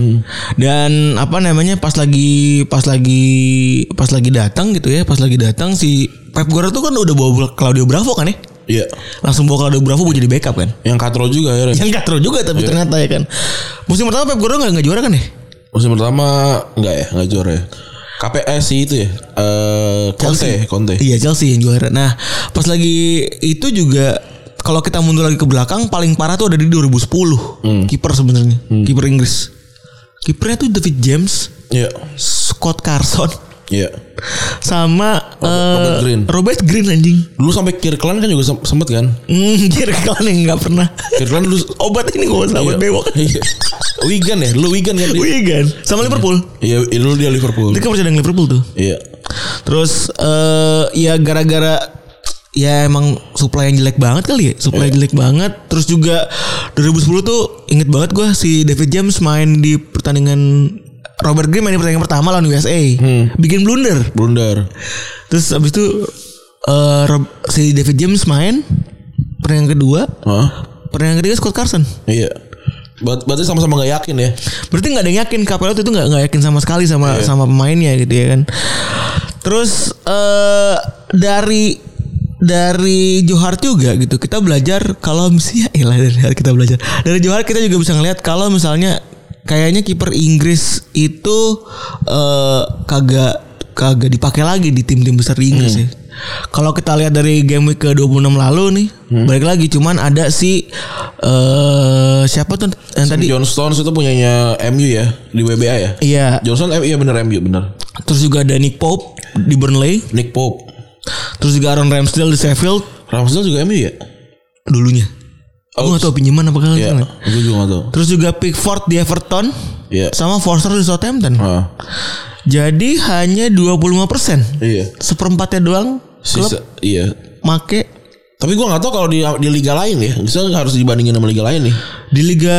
Speaker 3: dan apa namanya pas lagi pas lagi pas lagi datang gitu ya pas lagi datang si Pep Guardiola tuh kan udah bawa Claudio Bravo kan ya
Speaker 2: Iya.
Speaker 3: langsung bawa Claudio Bravo buat jadi backup kan
Speaker 2: Yang Katro juga ya. Ray.
Speaker 3: yang katro juga tapi ternyata ya kan musim pertama Pep Guardiola nggak nggak juara kan ya
Speaker 2: Musim pertama enggak ya, enggak juara ya. KPS sih itu ya. Eh Conte, Conte.
Speaker 3: iya Chelsea yang juara nah pas lagi itu juga kalau kita mundur lagi ke belakang paling parah tuh ada di 2010 kiper sebenarnya kiper Inggris kipernya tuh David James
Speaker 2: Iya.
Speaker 3: Scott Carson
Speaker 2: Iya.
Speaker 3: sama Robert,
Speaker 2: Robert Green.
Speaker 3: Robert Green anjing
Speaker 2: Dulu sampai Kirkland kan juga sem- sempet kan?
Speaker 3: hmm, Kirkland yang nggak pernah
Speaker 2: Kirkland dulu
Speaker 3: obat ini gue sama bewok
Speaker 2: Iya. Wigan ya, dulu Wigan kan dia.
Speaker 3: Wigan sama Liverpool
Speaker 2: Iya, dulu dia Liverpool.
Speaker 3: dia kan kepercayaan dengan Liverpool tuh
Speaker 2: Iya.
Speaker 3: Terus eh ya gara-gara ya emang supply yang jelek banget kali ya, supply
Speaker 2: Iya.
Speaker 3: jelek banget. Terus juga 2010 tuh inget banget gua si David James main di pertandingan Robert Green main di pertandingan pertama lawan USA.
Speaker 2: Hmm.
Speaker 3: Bikin blunder.
Speaker 2: Blunder.
Speaker 3: Terus abis itu eh Rob- si David James main pertandingan kedua,
Speaker 2: Hah?
Speaker 3: pertandingan ketiga Scott Carson.
Speaker 2: Iya. Ber- Berarti sama-sama gak yakin ya.
Speaker 3: Berarti nggak ada yang yakin Capello waktu itu nggak nggak yakin sama sekali sama sama pemainnya gitu ya kan. Terus eh dari dari Johar juga gitu kita belajar kalau misalnya ya elah, dari Johar kita belajar dari Johar kita juga bisa ngelihat kalau misalnya kayaknya kiper Inggris itu eh kagak kagak dipakai lagi di tim-tim besar di Inggris ya. Kalau kita lihat dari game week ke 26 lalu nih, balik lagi cuman ada si eh siapa tuh yang tadi
Speaker 2: John Stones itu punyanya MU ya di WBA ya.
Speaker 3: Iya.
Speaker 2: John Stones eh, iya bener MU bener.
Speaker 3: Terus juga ada Nick Pope di Burnley.
Speaker 2: Nick Pope.
Speaker 3: Terus juga Aaron Ramsdale di Sheffield
Speaker 2: Ramsdale juga MU ya?
Speaker 3: dulunya.
Speaker 2: Oh,
Speaker 3: Gue gak tau pinjaman apa kagak.
Speaker 2: Iya.
Speaker 3: salah.
Speaker 2: Gue juga gak tau.
Speaker 3: Terus juga Pickford di Everton.
Speaker 2: Iya.
Speaker 3: Sama Forster di Southampton.
Speaker 2: Ah,
Speaker 3: Jadi hanya 25%.
Speaker 2: iya.
Speaker 3: Seperempatnya doang klub
Speaker 2: Sisa, iya.
Speaker 3: make
Speaker 2: Tapi gue gak tau kalau di, di liga lain ya. Misalnya harus dibandingin sama liga lain nih.
Speaker 3: di liga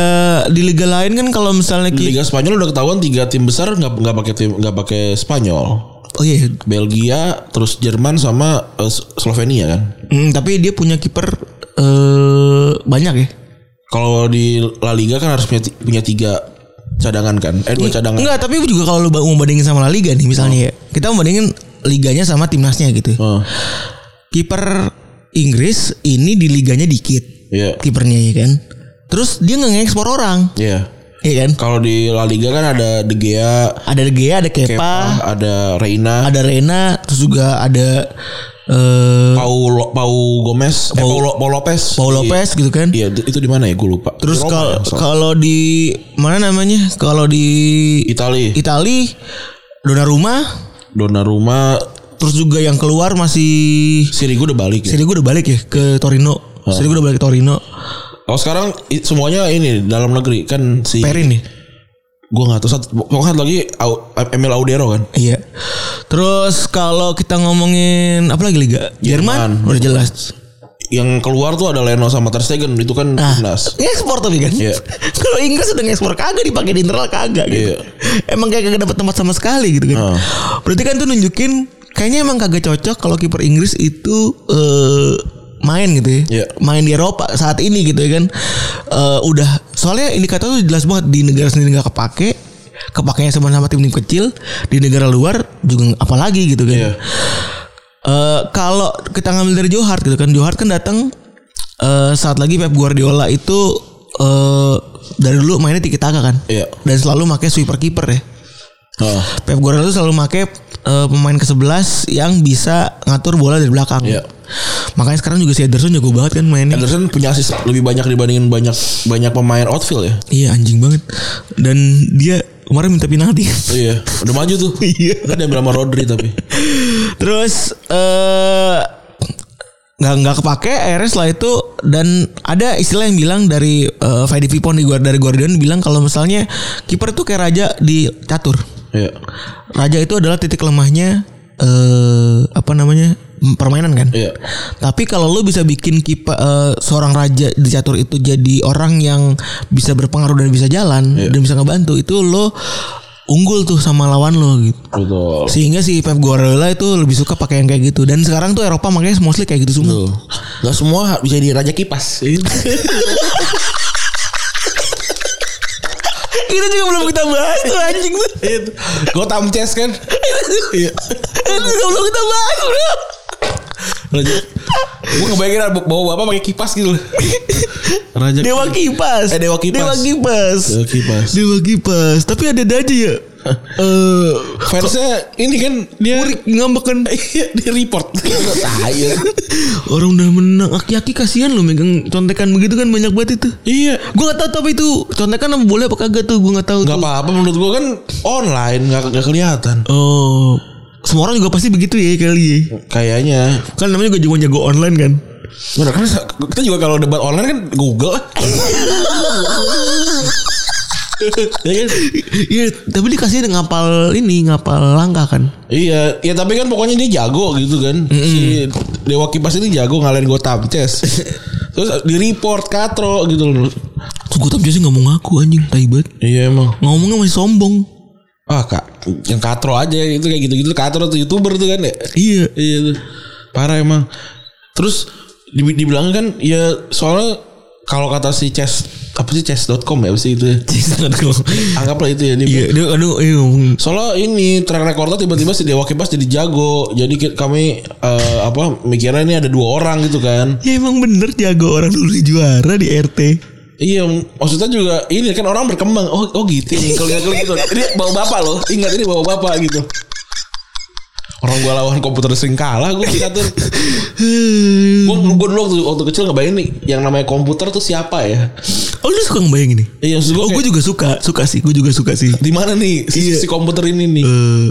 Speaker 3: di liga lain kan kalau misalnya
Speaker 2: Di
Speaker 3: ki-
Speaker 2: Liga Spanyol udah ketahuan tiga tim besar nggak nggak pakai tim nggak pakai Spanyol.
Speaker 3: oh iya
Speaker 2: Belgia, terus Jerman sama eh, Slovenia kan.
Speaker 3: Hmm, tapi dia punya kiper eh banyak ya
Speaker 2: Kalau di La Liga kan harus punya, ti- punya tiga cadangan kan? Eh dua cadangan.
Speaker 3: Iya. Enggak, tapi juga kalau lu ba- mau bandingin sama La Liga nih misalnya ya. Kita mau bandingin liganya sama timnasnya gitu.
Speaker 2: Oh.
Speaker 3: Kiper Inggris ini di liganya dikit.
Speaker 2: Iya.
Speaker 3: Kipernya ya kan. Terus dia nggak ngekspor orang,
Speaker 2: Iya.
Speaker 3: ya kan?
Speaker 2: Kalau di La Liga kan ada De Gea,
Speaker 3: Ada De Gea, ada Kepa,
Speaker 2: Kepa, ada Reina,
Speaker 3: ada Rena, terus juga ada eh
Speaker 2: Paulo Pau Gomez, eh,
Speaker 3: Pau-
Speaker 2: Paulo, Paulo Lopez.
Speaker 3: Paul
Speaker 2: Di-
Speaker 3: Lopez gitu kan.
Speaker 2: Iya, itu di mana ya? Gue lupa.
Speaker 3: Terus
Speaker 2: Di Roma
Speaker 3: kalau
Speaker 2: ya, salah.
Speaker 3: kalau di mana namanya? Kalau di
Speaker 2: Itali,
Speaker 3: Itali Donnarumma
Speaker 2: Donnarumma,
Speaker 3: terus juga yang keluar masih
Speaker 2: Siri gue udah balik. Ya?
Speaker 3: Seri gue udah balik ya ke Torino. Seri gue udah balik ke Torino.
Speaker 2: Kalau Oh, sekarang i- semuanya ini dalam negeri kan si
Speaker 3: Perin nih.
Speaker 2: gue nggak tahu satu pokoknya satu lagi Au- Emil Audero kan.
Speaker 3: Iya. Terus kalau kita ngomongin apa lagi liga? Jerman,
Speaker 2: Jerman.
Speaker 3: udah jelas.
Speaker 2: Yang keluar tuh ada Leno sama Ter Stegen itu kan
Speaker 3: Nah,
Speaker 2: timnas.
Speaker 3: ekspor tapi kan.
Speaker 2: Iya.
Speaker 3: kalau Inggris udah ngekspor kagak dipakai di internal kagak gitu.
Speaker 2: Iya.
Speaker 3: Emang kayak kagak dapat tempat sama sekali gitu
Speaker 2: Ah.
Speaker 3: kan. Berarti kan tuh nunjukin kayaknya emang kagak cocok kalau kiper Inggris itu eh main gitu ya.
Speaker 2: Iya.
Speaker 3: Main di Eropa saat ini gitu ya kan. Eh udah soalnya indikator tuh jelas banget di negara sendiri nggak kepake kepakainya sama sama tim-tim kecil di negara luar juga apalagi gitu kan.
Speaker 2: Iya.
Speaker 3: Eh, kalau kita ngambil dari Johart gitu kan, Johart kan datang eh, saat lagi Pep Guardiola itu eh dari dulu mainnya tiki taka kan,
Speaker 2: Iya.
Speaker 3: dan selalu pakai sweeper kiper ya.
Speaker 2: Nah,
Speaker 3: Pep Guardiola itu selalu pakai eh, pemain ke 11 yang bisa ngatur bola dari belakang.
Speaker 2: Iya.
Speaker 3: Makanya sekarang juga si Ederson jago banget kan mainnya.
Speaker 2: Anderson punya asis lebih banyak dibandingin banyak banyak pemain outfield ya.
Speaker 3: Iya anjing banget. Dan dia kemarin minta penalti.
Speaker 2: Oh iya, udah maju tuh.
Speaker 3: Iya.
Speaker 2: Kan dia sama Rodri tapi.
Speaker 3: Terus eh nggak nggak kepake akhirnya setelah itu dan ada istilah yang bilang dari eh, Fadi Vipon di Guard- dari Guardian bilang kalau misalnya kiper itu kayak raja di catur.
Speaker 2: Iya.
Speaker 3: Raja itu adalah titik lemahnya eh apa namanya? m- permainan kan.
Speaker 2: Iya.
Speaker 3: Tapi kalau lu bisa bikin kiper eh, seorang raja di catur itu jadi orang yang bisa berpengaruh dan bisa jalan dan bisa ngebantu itu lo unggul tuh sama lawan lo gitu.
Speaker 2: Betul.
Speaker 3: Sehingga si Pep Guardiola itu lebih suka pakai yang kayak gitu. Dan sekarang tuh Eropa makanya mostly kayak gitu semua.
Speaker 2: Tuh. Gak semua bisa jadi raja kipas.
Speaker 3: Kita juga belum kita bahas tuh anjing tuh.
Speaker 2: Gue tamces kan. Iya.
Speaker 3: Itu juga belum kita bahas bro.
Speaker 2: Raja. Gue ngebayangin ada bawa bapak pakai kipas gitu. Raja.
Speaker 3: Dewa kipas.
Speaker 2: Eh, Dewa Kipas.
Speaker 3: Dewa kipas.
Speaker 2: Dewa Kipas.
Speaker 3: Dewa kipas. Tapi ada aja ya. Eh,
Speaker 2: Fansnya ini kan dia Iya.
Speaker 3: murik ngambekan Eh,
Speaker 2: di report. Tahu.
Speaker 3: orang udah menang aki-aki kasihan lo megang contekan begitu kan banyak banget itu
Speaker 2: Iya.
Speaker 3: gue gak tahu tapi itu contekan apa boleh apa kagak tuh gue gak tahu
Speaker 2: Gak
Speaker 3: tuh.
Speaker 2: apa-apa menurut gue kan online gak, nggak kelihatan.
Speaker 3: oh semua orang juga pasti begitu ya kali ya
Speaker 2: Kayaknya
Speaker 3: kan namanya juga jago-jago online kan
Speaker 2: Bener kan kita juga kalau debat online kan Google. ya kan?
Speaker 3: Iya, tapi dikasih ngapal ini, ngapal langkah kan.
Speaker 2: Iya, ya tapi kan pokoknya dia jago gitu kan. Si Dewa Kipas ini jago ngalahin Gotham Chess. Terus di report Katro gitu loh.
Speaker 3: Tuh gue tapi sih nggak mau ngaku anjing, tai banget.
Speaker 2: Iya emang.
Speaker 3: Ngomongnya masih sombong.
Speaker 2: Ah, Kak, yang Katro aja itu kayak gitu-gitu Katro tuh YouTuber tuh kan ya.
Speaker 3: Iya.
Speaker 2: Iya tuh. Parah emang. Terus dibi- dibilang kan ya soalnya kalau kata si Chess apa sih chess.com ya apa sih itu ya? Anggaplah itu ya dia
Speaker 3: Iya, dia aduh, iya ngomong.
Speaker 2: Soalnya ini track recordnya tiba-tiba si Dewa Kipas jadi jago. Jadi ki- kami eh, apa mikirnya ini ada dua orang gitu kan.
Speaker 3: Ya emang bener jago orang dulu juara di RT.
Speaker 2: Iya, maksudnya juga ini kan orang berkembang. Oh, oh gitu. Ini kalau kalau gitu. Ini bawa bapak loh. Ingat ini bawa bapak gitu. Orang gua lawan komputer sering kalah gua dikatur.
Speaker 3: Hmm.
Speaker 2: gua gua dulu waktu, waktu kecil ngebayangin nih yang namanya komputer tuh siapa ya?
Speaker 3: Oh lu suka ngebayangin nih?
Speaker 2: Iya, maksud gua
Speaker 3: Oh gue
Speaker 2: kayak,
Speaker 3: juga suka, suka sih, gue juga suka sih.
Speaker 2: di mana nih si,
Speaker 3: Iya.
Speaker 2: si komputer ini nih?
Speaker 3: Eh,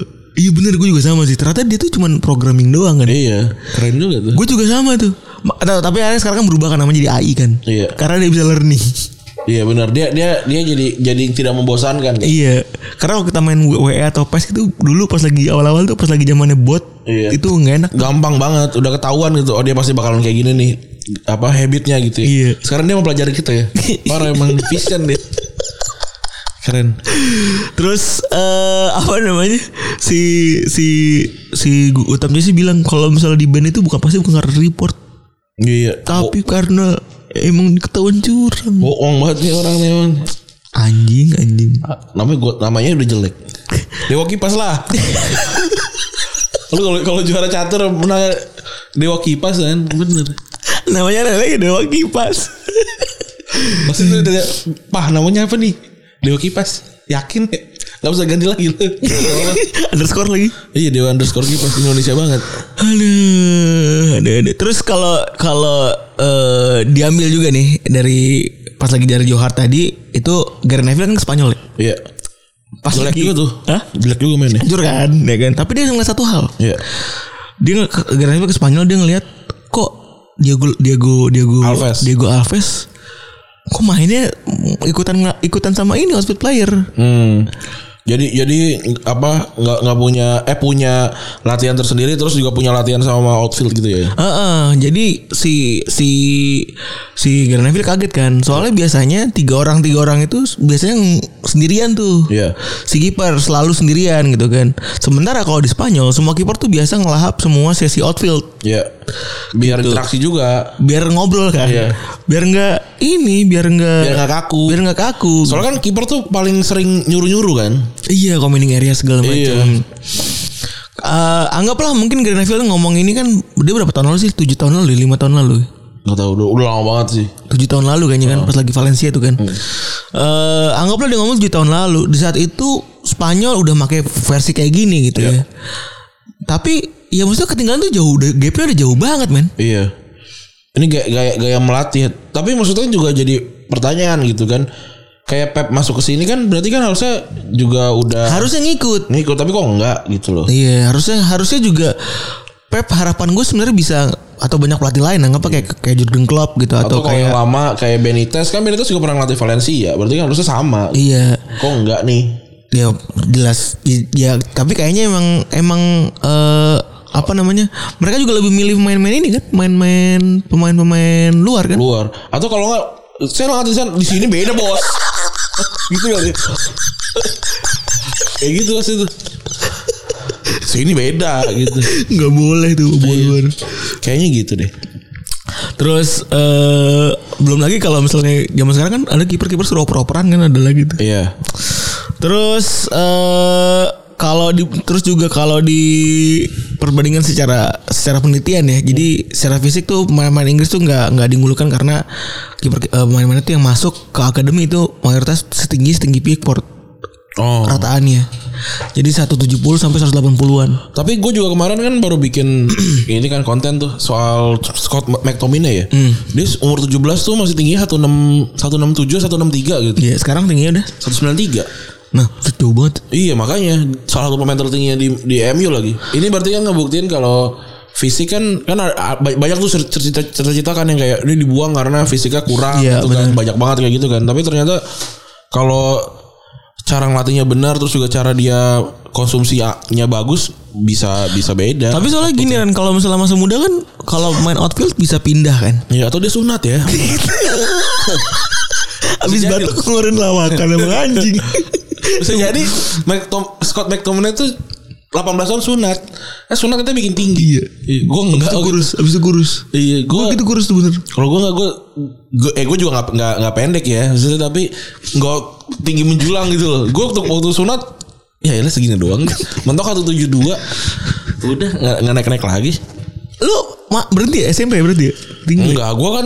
Speaker 3: iya bener gue juga sama sih. Ternyata dia tuh cuman programming doang kan.
Speaker 2: iya, keren juga tuh.
Speaker 3: Gue juga sama tuh. Ma- atau- Tapi akhirnya sekarang kan berubah kan namanya jadi AI kan.
Speaker 2: Iya.
Speaker 3: Karena dia bisa learning.
Speaker 2: Iya benar dia dia dia jadi jadi tidak membosankan.
Speaker 3: Iya, karena kalau kita main WE atau PES itu dulu pas lagi awal-awal tuh pas lagi zamannya bot
Speaker 2: Iya.
Speaker 3: itu nggak enak.
Speaker 2: gampang banget udah ketahuan gitu oh dia pasti bakalan kayak gini nih apa habitnya gitu ya.
Speaker 3: Iya.
Speaker 2: sekarang dia mempelajari kita ya parah emang vision dia keren
Speaker 3: Terus eh apa namanya si si si Gu- utamnya sih bilang kalau misalnya di band itu bukan pasti bukan karena report,
Speaker 2: iya
Speaker 3: tapi karena emang ketahuan curang.
Speaker 2: Bo- bohong banget nih orang nih emang
Speaker 3: Anjing anjing.
Speaker 2: namanya gua namanya udah jelek dewa kipas lah Lu kalau kalau juara catur menang Dewa Kipas kan bener.
Speaker 3: Namanya ada lagi Dewa Kipas.
Speaker 2: Maksudnya lu tanya, Pah namanya apa nih? Dewa Kipas. Yakin ya? Gak bisa ganti lagi lu.
Speaker 3: Underscore lagi.
Speaker 2: iya Dewa underscore Kipas Indonesia banget.
Speaker 3: Aduh, aduh, aduh. Terus kalau kalau eh, diambil juga nih dari pas lagi dari Johar tadi itu Gary Neville kan ke Spanyol ya.
Speaker 2: Iya.
Speaker 3: Pas
Speaker 2: Jelek
Speaker 3: lagi
Speaker 2: juga tuh. Iya
Speaker 3: Hah?
Speaker 2: Jelek juga mainnya.
Speaker 3: Hancur kan, ya kan. Tapi dia ngeliat satu hal.
Speaker 2: Iya.
Speaker 3: Dia nge- ke- Gary Neville ke Spanyol dia ngeliat kok Diego Diego Diego
Speaker 2: Alves.
Speaker 3: Diego Alves kok mainnya ikutan ikutan sama ini outfit player.
Speaker 2: Hmm. Jadi jadi apa nggak nggak punya eh punya latihan tersendiri terus juga punya latihan sama outfield gitu ya.
Speaker 3: Heeh, jadi si si si Gary Neville kaget kan. Soalnya biasanya tiga orang tiga orang itu biasanya ng- sendirian tuh.
Speaker 2: Iya.
Speaker 3: Si kiper selalu sendirian gitu kan. Sementara kalau di Spanyol semua kiper tuh biasa ngelahap semua sesi outfield
Speaker 2: Iya. Biar interaksi juga.
Speaker 3: biar ngobrol kan.
Speaker 2: Iya.
Speaker 3: Biar nggak ini, biar nggak
Speaker 2: Biar nggak kaku.
Speaker 3: biar nggak kaku.
Speaker 2: Soalnya kan kiper tuh paling sering nyuruh-nyuruh kan.
Speaker 3: Iya commenting area segala macam.
Speaker 2: Iya.
Speaker 3: Eh, anggaplah mungkin Gary Neville ngomong ini kan dia berapa tahun lalu sih? 7 tahun lalu, 5 tahun lalu.
Speaker 2: Gak tau udah, udah lama banget sih.
Speaker 3: tujuh tahun lalu kayaknya kan pas lagi Valencia itu kan. Eh anggaplah dia ngomong tujuh tahun lalu. Di saat itu Spanyol udah pakai versi kayak gini gitu ya. Tapi ya maksudnya ketinggalan tuh jauh, udah- gapnya udah jauh banget men.
Speaker 2: Iya. Ini gaya, gaya gaya melatih. Tapi maksudnya juga jadi pertanyaan gitu kan. Kayak Pep masuk ke sini kan berarti kan harusnya juga udah
Speaker 3: Harusnya ngikut.
Speaker 2: ngikut tapi kok enggak gitu loh.
Speaker 3: Iya harusnya harusnya juga Pep harapan gue sebenarnya bisa atau banyak pelatih lain anggap kayak kayak Jurgen Klopp gitu atau,
Speaker 2: Atau, kayak
Speaker 3: kayak
Speaker 2: lama kayak Benitez kan Benitez juga pernah ngelatih Valencia, berarti kan harusnya sama.
Speaker 3: iya
Speaker 2: Kok enggak nih?
Speaker 3: ya jelas I- ya tapi kayaknya emang emang eh, apa namanya mereka juga lebih milih main-main ini kan main-main pemain-pemain luar kan
Speaker 2: Keluar. Atau kalau enggak saya ngelatih sana di sini beda bos. gitu kali. kayak gitu pasti tuh. Sini beda gitu.
Speaker 3: nggak boleh tuh luar
Speaker 2: Kayaknya gitu deh.
Speaker 3: terus eh, belum lagi kalau misalnya zaman sekarang kan ada kiper-kiper suruh oper-operan kan ada lagi tuh
Speaker 2: Iya.
Speaker 3: terus eh kalau di terus juga kalau di perbandingan secara secara penelitian ya jadi secara fisik tuh pemain-pemain Inggris tuh nggak nggak diunggulkan karena kiper eh, pemain-pemain itu yang masuk ke akademi itu mayoritas setinggi setinggi Pickford
Speaker 2: Oh.
Speaker 3: rataannya jadi 170 sampai 180-an
Speaker 2: Tapi gue juga kemarin kan baru bikin ini kan konten tuh soal Scott McTominay ya. Dia umur 17 tuh masih tingginya 16 167 163 gitu.
Speaker 3: ya sekarang tingginya udah
Speaker 2: 193.
Speaker 3: nah jauh banget
Speaker 2: Iya makanya salah satu pemain tertingginya di di MU lagi. Ini berarti kan ngebuktiin kalau fisik kan kan ada- a- ba- banyak tuh cer- cerita cerita kan yang kayak ini dibuang karena fisiknya kurang
Speaker 3: Iya,
Speaker 2: gitu kan banyak banget kayak gitu kan. Tapi ternyata kalau cara ngelatihnya benar terus juga cara dia konsumsinya bagus bisa bisa beda.
Speaker 3: tapi soalnya gini kan kalau misalnya masa muda kan kalau main outfield bisa pindah kan
Speaker 2: Ya atau dia sunat ya.
Speaker 3: abis
Speaker 2: Jadi-
Speaker 3: batuk ngeluarin lawakan emang anjing
Speaker 2: Bisa jadi McTom- Scott McTominay tuh 18 tahun sunat. Eh sunat kita bikin tinggi.
Speaker 3: iya
Speaker 2: Iya, Gue
Speaker 3: abis
Speaker 2: enggak.
Speaker 3: itu kurus abis itu kurus
Speaker 2: Iya, gue
Speaker 3: gitu kurus tuh bener
Speaker 2: Kalau gue nggak gue, gue- eh gue juga nggak nggak nggak pendek ya, maksudnya tapi nggak tinggi menjulang gitu loh. Gue waktu waktu sunat ya ini segini doang, mentok 172 udah nggak nggak naik naik lagi.
Speaker 3: lu ma, berhenti ya SMP ya berarti ya? tinggi
Speaker 2: Enggak, gue kan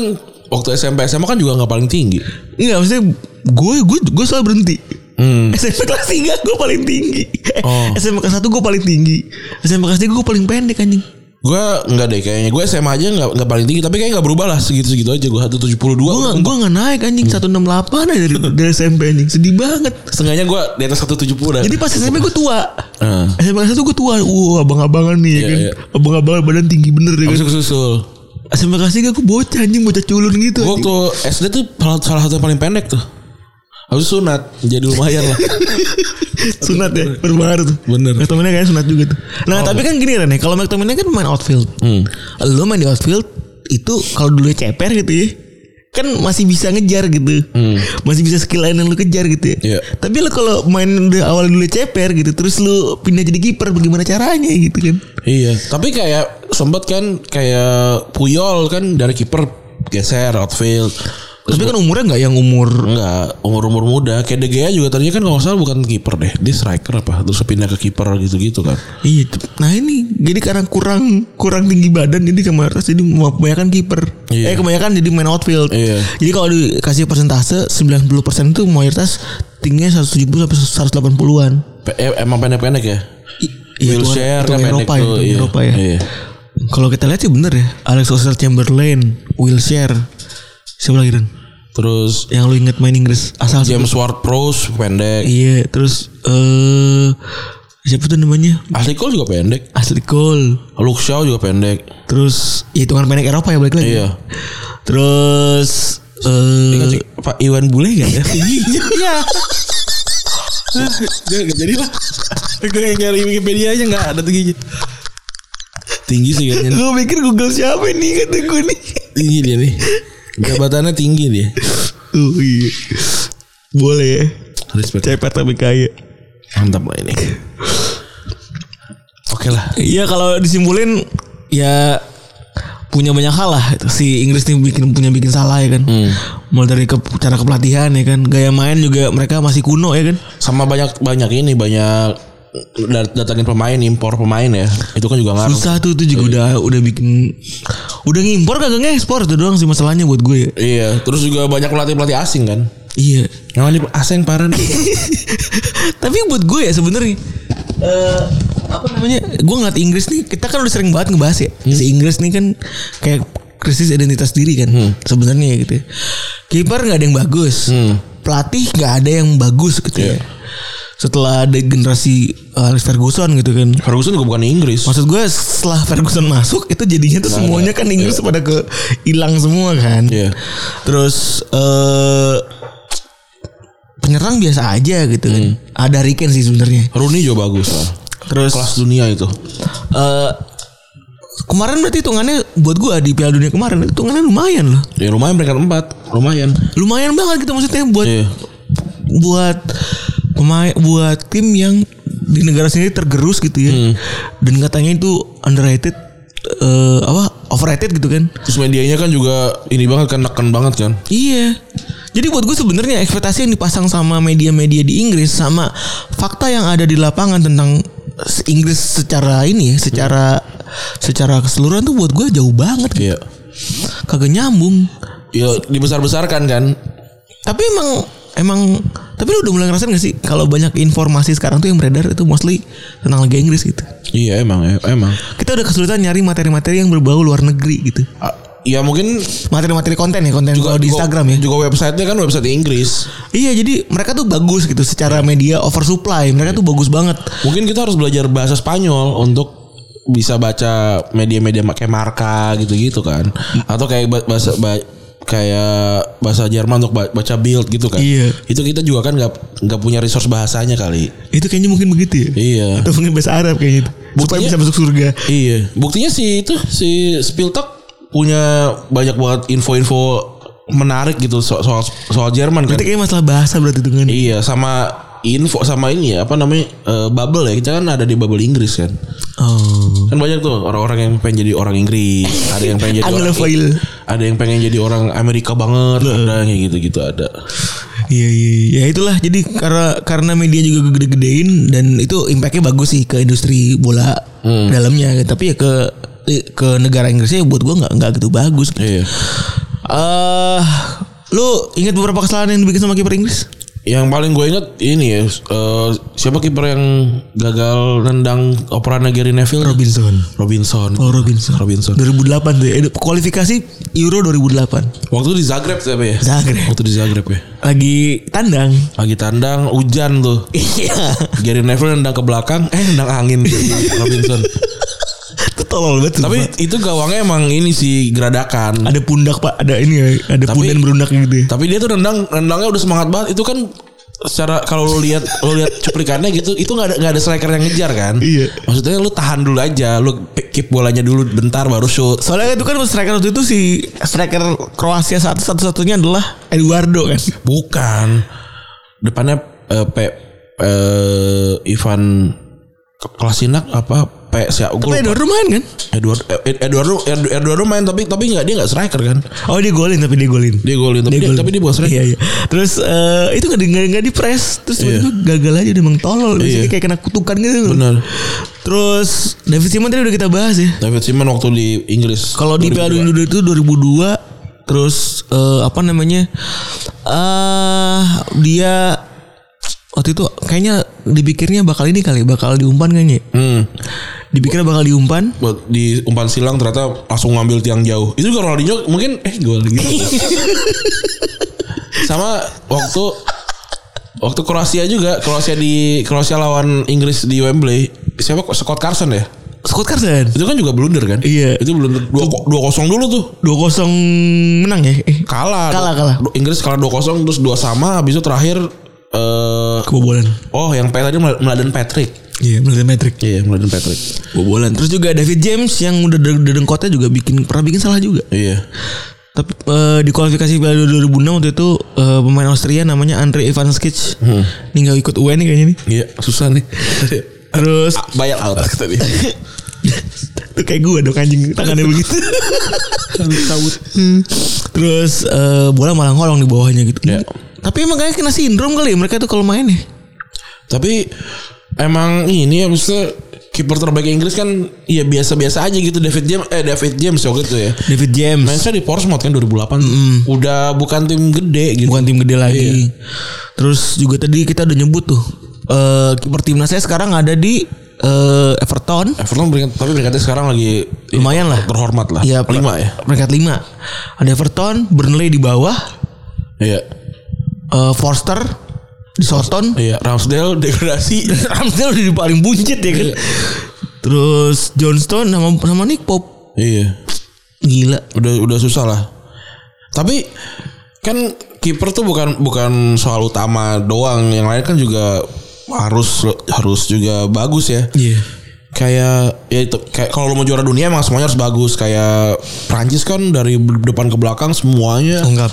Speaker 2: waktu SMP SMA kan juga nggak paling tinggi.
Speaker 3: enggak maksudnya gue gue gue selalu berhenti SMP kelas 3 gue paling tinggi Eh,
Speaker 2: Hmm. Oh.
Speaker 3: SMP kelas 1 gue paling tinggi SMP kelas 3 gue paling pendek anjing
Speaker 2: Gue nggak deh kayaknya, gue SMA aja nggak nggak paling tinggi, tapi kayaknya nggak berubah lah segitu segitu aja gue 172.
Speaker 3: gue gak, gue gak naik
Speaker 2: Hmm.
Speaker 3: anjing 168 aja dari, dari SMP anjing sedih banget
Speaker 2: Setengahnya gue di atas 170 dah.
Speaker 3: jadi pas SMP gue tua
Speaker 2: Heeh.
Speaker 3: SMP kelas 1 gue tua wah abang-abangan nih ya
Speaker 2: Hmm. Iya,
Speaker 3: kan
Speaker 2: iya.
Speaker 3: abang-abangan badan tinggi bener ya kan
Speaker 2: Habis susul.
Speaker 3: SMP kelas 3 gue bocah anjing bocah culun gitu
Speaker 2: Gue
Speaker 3: anjing.
Speaker 2: waktu SD tuh salah, salah satu yang paling pendek tuh. Habis sunat jadi lumayan lah.
Speaker 3: sunat ya berbaru tuh
Speaker 2: Bener.
Speaker 3: McTominay kayaknya sunat juga tuh nah tapi kan gini Ren ya kalau McTominay kan main outfield
Speaker 2: Hmm.
Speaker 3: lo main di outfield itu kalau dulu ceper gitu ya kan masih bisa ngejar gitu masih bisa skill lain yang lu kejar gitu ya
Speaker 2: Hmm. Iya.
Speaker 3: tapi lo kalau main udah awal dulu ceper gitu terus lu pindah jadi kiper bagaimana caranya gitu kan
Speaker 2: Iya, tapi kayak sempet kan kayak Puyol kan dari kiper geser outfield.
Speaker 3: Tapi kan umurnya nggak yang umur
Speaker 2: Enggak, umur-umur muda. Kayak De Gea juga tadinya kan kalau nggak salah bukan kiper deh. Dia striker apa? Terus pindah ke kiper gitu-gitu kan.
Speaker 3: Iya, tep- nah ini jadi karena kurang kurang tinggi badan jadi kemarin jadi kebanyakan kiper.
Speaker 2: Iya.
Speaker 3: Eh kebanyakan jadi main outfield.
Speaker 2: Iya.
Speaker 3: Jadi kalau dikasih persentase 90% itu mayoritas tingginya 170 sampai 180-an.
Speaker 2: Pe- eh, emang pendek-pendek ya?
Speaker 3: I- iya, itu-
Speaker 2: Wilshere
Speaker 3: itu
Speaker 2: kan pendek
Speaker 3: Eropa ya,
Speaker 2: tuh,
Speaker 3: itu
Speaker 2: iya.
Speaker 3: Eropa ya.
Speaker 2: Iya.
Speaker 3: Kalau kita lihat sih bener ya. Alex Oxlade-Chamberlain, Wilshere. Siapa lagi Dan?
Speaker 2: Terus
Speaker 3: Yang lu inget main Inggris asal
Speaker 2: James Ward-Prowse pendek.
Speaker 3: Iya, terus eh siapa tuh namanya?
Speaker 2: Asli Cole juga pendek.
Speaker 3: Ashley Cole.
Speaker 2: Luke Shaw juga pendek.
Speaker 3: Terus ya, hitungan pendek Eropa ya balik lagi.
Speaker 2: Iya.
Speaker 3: Terus
Speaker 2: Ingat
Speaker 3: eh
Speaker 2: sih, Pak Iwan Bule gak ya? Tingginya. Iya. Jadi lah. Gue yang nyari Wikipedia aja gak ada tingginya. Tinggi sih kayaknya.
Speaker 3: gue pikir Google siapa nih kata gue nih.
Speaker 2: Tinggi dia nih. Jabatannya tinggi dia.
Speaker 3: Oh iya. Boleh ya.
Speaker 2: Respect.
Speaker 3: Cepet tapi kaya.
Speaker 2: Mantap lah ini. Oke lah.
Speaker 3: Iya kalau disimpulin ya punya banyak hal lah si Inggris nih bikin punya bikin salah ya kan. Mulai dari ke, cara kepelatihan ya kan, gaya main juga mereka masih kuno ya kan.
Speaker 2: Sama banyak banyak ini banyak dat- datangin pemain impor pemain ya. Itu kan juga ngaruh.
Speaker 3: Susah tuh itu juga udah udah bikin udah ngimpor kagak ngekspor itu doang sih masalahnya buat gue ya.
Speaker 2: Iya, terus juga banyak pelatih-pelatih asing kan.
Speaker 3: Iya.
Speaker 2: Yang ini asing parah nih.
Speaker 3: Tapi buat gue ya sebenarnya eh, apa namanya? Gue ngeliat Inggris nih, kita kan udah sering banget ngebahas ya. Si Inggris nih kan kayak krisis identitas diri kan sebenarnya ya gitu. ya. Kiper nggak ada yang bagus, pelatih nggak ada yang bagus gitu ya.
Speaker 2: Iya.
Speaker 3: Setelah ada generasi eh, Alex Ferguson gitu kan.
Speaker 2: Ferguson juga bukan Inggris.
Speaker 3: Maksud gue setelah Ferguson masuk itu jadinya tuh semuanya kan Inggris pada ke hilang semua kan.
Speaker 2: Nah, Iya.
Speaker 3: Terus eh penyerang biasa aja gitu kan.
Speaker 2: Hmm.
Speaker 3: Ada Riken sih sebenarnya.
Speaker 2: Rooney juga bagus lah.
Speaker 3: Terus
Speaker 2: Kelas dunia itu.
Speaker 3: eh, kemarin berarti hitungannya buat gua di Piala Dunia kemarin hitungannya lumayan loh.
Speaker 2: Ya lumayan peringkat 4 Lumayan
Speaker 3: Lumayan banget gitu maksudnya buat
Speaker 2: Iya
Speaker 3: buat pemain buat tim yang di negara sendiri tergerus gitu ya.
Speaker 2: Hmm.
Speaker 3: Dan katanya itu underrated eh apa overrated gitu kan.
Speaker 2: Terus medianya kan juga Ini banget kan Neken banget kan
Speaker 3: Iya. Jadi buat gue sebenarnya ekspektasi yang dipasang sama media-media di Inggris sama fakta yang ada di lapangan tentang se- Inggris secara ini ya, secara secara keseluruhan tuh buat gue jauh banget gitu.
Speaker 2: Iya
Speaker 3: Kagak nyambung.
Speaker 2: Ya dibesar-besarkan kan
Speaker 3: Tapi emang emang tapi lu udah mulai ngerasain gak sih kalau banyak informasi sekarang tuh yang beredar itu mostly tentang Liga Inggris gitu.
Speaker 2: Iya emang ya, Emang
Speaker 3: Kita udah kesulitan nyari materi-materi yang berbau luar negeri gitu.
Speaker 2: Ah, Ya mungkin
Speaker 3: Materi-materi konten ya, konten kalau di Instagram ya.
Speaker 2: Juga websitenya kan website Inggris
Speaker 3: Iya jadi mereka tuh bagus gitu secara media oversupply mereka tuh bagus banget.
Speaker 2: Mungkin kita harus belajar bahasa Spanyol Untuk bisa baca media-media kayak marka gitu-gitu kan Atau kayak ba- bahasa ba- kayak bahasa Jerman untuk ba- baca build gitu kan
Speaker 3: Iya.
Speaker 2: itu kita juga kan nggak nggak punya resource bahasanya kali
Speaker 3: Itu kayaknya mungkin begitu ya.
Speaker 2: iya
Speaker 3: Atau mungkin bahasa Arab kayaknya itu. Supaya
Speaker 2: Buktinya-
Speaker 3: bisa masuk surga.
Speaker 2: Iya, buktinya si itu si Spiltak punya banyak banget info-info menarik gitu so- soal soal Jerman kan.
Speaker 3: Itu kayaknya masalah bahasa berarti itu kan.
Speaker 2: Iya, sama info sama ini ya apa namanya eh, bubble ya kita kan ada di bubble Inggris kan
Speaker 3: Oh.
Speaker 2: kan banyak tuh orang-orang yang pengen jadi orang Inggris ada yang pengen jadi orang
Speaker 3: Anglophile. Nah.
Speaker 2: ada yang pengen jadi orang Amerika banget ada yang kayak gitu-gitu ada
Speaker 3: Iya iya iya. ya itulah jadi karena karena media juga gede-gedein dan itu impactnya bagus sih ke industri bola
Speaker 2: Hmm.
Speaker 3: dalamnya tapi ya ke ke negara Inggrisnya buat gua nggak nggak gitu bagus. Eh
Speaker 2: iya
Speaker 3: lu ingat beberapa kesalahan yang dibikin sama kiper Inggris?
Speaker 2: yang paling gue inget ini ya eh, siapa kiper yang gagal nendang operan Gary Neville
Speaker 3: Robinson.
Speaker 2: Robinson
Speaker 3: Oh Robinson.
Speaker 2: Robinson
Speaker 3: 2008 tuh ya. Eh, Kualifikasi Euro 2008.
Speaker 2: Waktu di Zagreb siapa ya?
Speaker 3: Zagreb.
Speaker 2: Waktu di Zagreb ya.
Speaker 3: Lagi tandang.
Speaker 2: Lagi tandang hujan tuh.
Speaker 3: Iya.
Speaker 2: Gary Neville nendang ke belakang, eh nendang angin Robinson.
Speaker 3: Itu tolol banget. Tapi
Speaker 2: Tapi itu gawangnya emang ini sih geradakan.
Speaker 3: ada pundak Pak, ada ini ya, ada
Speaker 2: Tapi-
Speaker 3: punden berundak gitu ya.
Speaker 2: Tapi dia tuh nendang nendangnya udah semangat banget. Itu kan secara kalau lu lihat lu lihat cuplikannya gitu itu nggak ada nggak ada striker yang ngejar kan
Speaker 3: Iya.
Speaker 2: maksudnya lu tahan dulu aja lu keep bolanya dulu bentar baru shoot
Speaker 3: Soalnya itu kan striker waktu itu si striker Kroasia satu satu-satunya adalah Eduardo kan.
Speaker 2: bukan depannya eh, Pe- eh, Ivan Klasinak apa Pe- siapa siapa
Speaker 3: Tapi
Speaker 2: gue lupa.
Speaker 3: Eduardo main kan?
Speaker 2: Edward Eh, Ed- Eduardo Ed- Eduardo main tapi tapi nggak dia nggak striker kan
Speaker 3: Oh dia golin tapi dia golin.
Speaker 2: dia golin tapi dia,
Speaker 3: golin.
Speaker 2: tapi dia bukan striker
Speaker 3: Iya, iya. Terus eh, itu nggak di nggak- nggak di press, terus tiba-tiba gagal aja udah emang tolol, Biasanya
Speaker 2: Iya.
Speaker 3: kayak kena kutukan gitu.
Speaker 2: Benar.
Speaker 3: Terus David Simon tadi udah kita bahas ya.
Speaker 2: David Simon waktu di Inggris
Speaker 3: Kalau di Piala Dunia itu 2002 terus eh, apa namanya? Eh dia waktu itu kayaknya dipikirnya bakal ini kali bakal diumpan kayaknya.
Speaker 2: hmm.
Speaker 3: Dipikirnya bakal diumpan.
Speaker 2: buat di umpan silang ternyata langsung ngambil tiang jauh itu juga Ronaldinho mungkin eh gol gitu sama waktu waktu Kroasia juga Kroasia di Kroasia lawan Inggris di Wembley siapa kok Scott Carson ya
Speaker 3: Scott Carson
Speaker 2: itu kan juga blunder kan
Speaker 3: Iya.
Speaker 2: itu blunder dua dua kosong dulu tuh
Speaker 3: 2-0 menang ya. Eh,
Speaker 2: kalah
Speaker 3: Kalah, kalah.
Speaker 2: Inggris kalah 2-0 terus dua sama habis itu terakhir eh
Speaker 3: kebobolan.
Speaker 2: oh yang P tadi Mel- Meladen Patrick
Speaker 3: Iya, melihat metrik.
Speaker 2: iya Meladen Patrick
Speaker 3: Kebobolan. Terus juga David James yang udah de- dedengkotnya juga bikin pernah bikin salah juga.
Speaker 2: iya
Speaker 3: Tapi eh, di kualifikasi Piala Dunia 2006 waktu itu eh, pemain Austria namanya Andre Ivanskic. Ini nggak ikut UN nih kayaknya nih.
Speaker 2: iya susah nih
Speaker 3: Terus
Speaker 2: bayar out tadi
Speaker 3: Itu kayak gue dong anjing tangannya begitu. Hmm. Terus eh, bola malah ngolong di bawahnya gitu.
Speaker 2: Iya.
Speaker 3: Tapi emang kayaknya kena sindrom kali ya mereka tuh kalau main ya.
Speaker 2: Tapi emang ini ya maksudnya kiper terbaik Inggris kan ya biasa-biasa aja gitu David James eh David James waktu itu ya.
Speaker 3: David James
Speaker 2: Mainnya di Portsmouth kan 2008. Udah bukan tim gede gitu.
Speaker 3: bukan tim gede lagi. Terus juga tadi kita udah nyebut tuh eh kiper timnasnya sekarang ada di eh, Everton.
Speaker 2: Everton peringkat- tapi peringkatnya sekarang lagi ya,
Speaker 3: Lumayan lah.
Speaker 2: terhormat lah.
Speaker 3: Iya,
Speaker 2: lima ya.
Speaker 3: Peringkat 5. Ada Everton, Burnley di bawah,
Speaker 2: Iya.
Speaker 3: eh, Forster di Soton,
Speaker 2: Iya, Ramsdale degradasi.
Speaker 3: Iya. Ramsdale udah di paling buncit ya kan. Terus Johnstone sama sama Nick Pop.
Speaker 2: iya.
Speaker 3: Gila.
Speaker 2: Udah udah susah lah. Tapi kan kiper tuh bukan bukan soal utama doang, yang lain kan juga harus harus juga bagus ya.
Speaker 3: Iya.
Speaker 2: kayak ya itu kayak kalau lo mau juara dunia emang semuanya harus bagus kayak Prancis kan dari depan ke belakang semuanya
Speaker 3: Lengkap.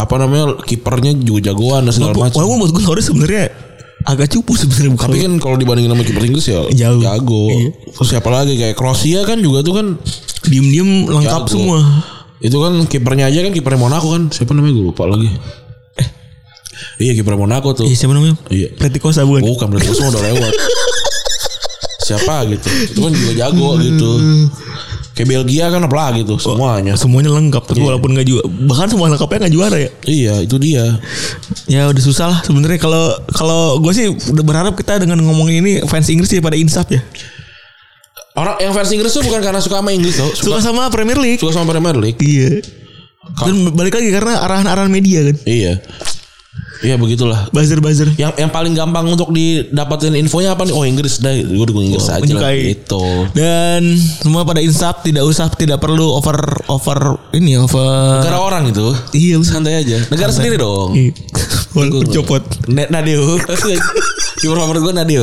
Speaker 2: apa namanya kipernya juga jagoan dan segala macam
Speaker 3: Walaupun buat gue Torres sebenarnya agak cupu sebenarnya bukan.
Speaker 2: tapi kan kalau dibandingin sama kiper Inggris ya
Speaker 3: Jauh.
Speaker 2: jago
Speaker 3: Iya.
Speaker 2: terus siapa lagi kayak Kroasia kan juga tuh kan
Speaker 3: diem-diem lengkap
Speaker 2: jago.
Speaker 3: semua.
Speaker 2: itu kan kipernya aja kan kipernya Monaco kan siapa namanya gue lupa lagi iya kiper Monaco tuh
Speaker 3: Eh. Iya, siapa namanya?
Speaker 2: Iya.
Speaker 3: Pletikosa bukan?
Speaker 2: bukan berarti semua udah lewat siapa gitu itu kan juga jago gitu
Speaker 3: Hmm.
Speaker 2: kayak Belgia kan apalagi tuh semuanya
Speaker 3: Ya, semuanya lengkap tapi walaupun nggak juara bahkan semua lengkapnya nggak juara ya
Speaker 2: Iya itu dia.
Speaker 3: ya udah susah lah sebenarnya kalau kalau gue sih udah berharap kita dengan ngomongin ini fans Inggris sih pada insaf ya
Speaker 2: Orang yang versi Inggris tuh bukan karena suka sama Inggris tuh, suka,
Speaker 3: suka sama Premier League
Speaker 2: suka sama Premier League.
Speaker 3: iya dan balik lagi karena arahan-arahan media kan
Speaker 2: Iya. Iya begitulah.
Speaker 3: buzzer buzzer
Speaker 2: Yang yang paling gampang untuk didapatin infonya apa nih? Oh Inggris dah, gue dukung Inggris aja lah.
Speaker 3: menyukai.
Speaker 2: Gitu.
Speaker 3: dan semua pada insaf tidak usah tidak perlu over over ini over
Speaker 2: Negara orang itu.
Speaker 3: iya usah
Speaker 2: Santai aja. Negara sendiri dong.
Speaker 3: Iya. walaupun copot
Speaker 2: Ne- Nadio. Kiper favorit gue Nadio.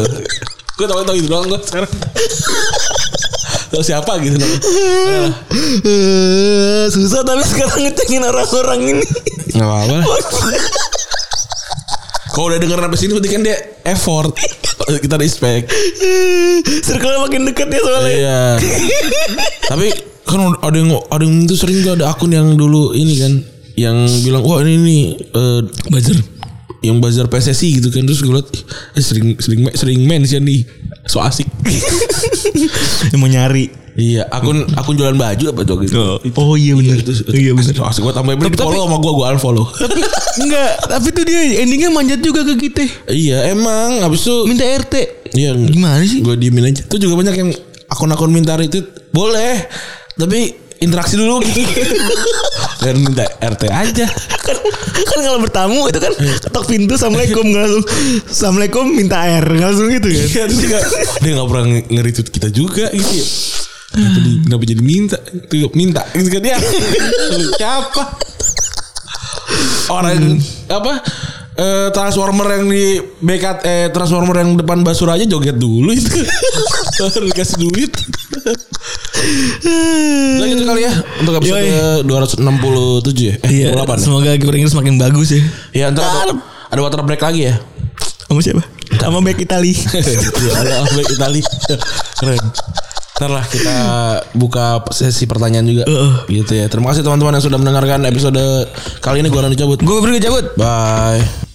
Speaker 2: Gue tau tau itu doang gue sekarang. Tau siapa gitu.
Speaker 3: Eh, susah tapi sekarang ngecengin orang-orang ini
Speaker 2: Gak apa-apa. lah. Kalau udah denger sampai sini berarti kan dia effort. Kita respect.
Speaker 3: circle makin dekat ya soalnya
Speaker 2: Iya. Tapi kan ada yang ada yang itu sering tuh ada akun yang dulu ini kan yang bilang wah ini nih eh,
Speaker 3: buzzer
Speaker 2: yang bazar PSSI gitu kan terus gue liat "Ih, eh, sering sering ma- sering mention nih so asik.
Speaker 3: yang mau nyari
Speaker 2: iya, akun akun jualan baju apa tuh gitu.
Speaker 3: oh iya benar
Speaker 2: Terus,
Speaker 3: iya benar
Speaker 2: So asik gua tambah beli
Speaker 3: Tapi-
Speaker 2: follow sama gua gua unfollow.
Speaker 3: enggak tapi tuh dia endingnya manjat juga ke kita
Speaker 2: iya, emang habis itu
Speaker 3: minta RT
Speaker 2: iya
Speaker 3: gimana sih
Speaker 2: gue diemin aja. Itu juga banyak yang akun-akun minta retweet boleh, tapi interaksi dulu gitu. Dan minta RT aja.
Speaker 3: kan, kan kalau bertamu itu kan ketok pintu assalamualaikum nggak langsung assalamualaikum minta air nggak langsung gitu kan
Speaker 2: Iya, terus dia gak, dia gak pernah nge- nge-retweet kita juga gitu ya. Kenapa, di- kenapa jadi minta? Tuh, minta gitu kan dia. Siapa? Hmm. Orang apa? Eh, transformer yang di bekat eh transformer yang depan basura aja joget dulu itu. Baru dikasih duit. Udah gitu kali ya untuk episode
Speaker 3: Yoi.
Speaker 2: 267 ya. Eh,
Speaker 3: iya
Speaker 2: 28 ya.
Speaker 3: semoga kiper Inggris makin bagus ya
Speaker 2: Ya, ntar ada, ada water break lagi ya.
Speaker 3: sama siapa sama back Itali
Speaker 2: Iya, ada back Itali. Keren. Ntar lah kita buka sesi pertanyaan juga. Gitu ya. Terima kasih teman-teman yang sudah mendengarkan episode kali ini. Gue Rani cabut.
Speaker 3: Gue pergi cabut.
Speaker 2: Bye.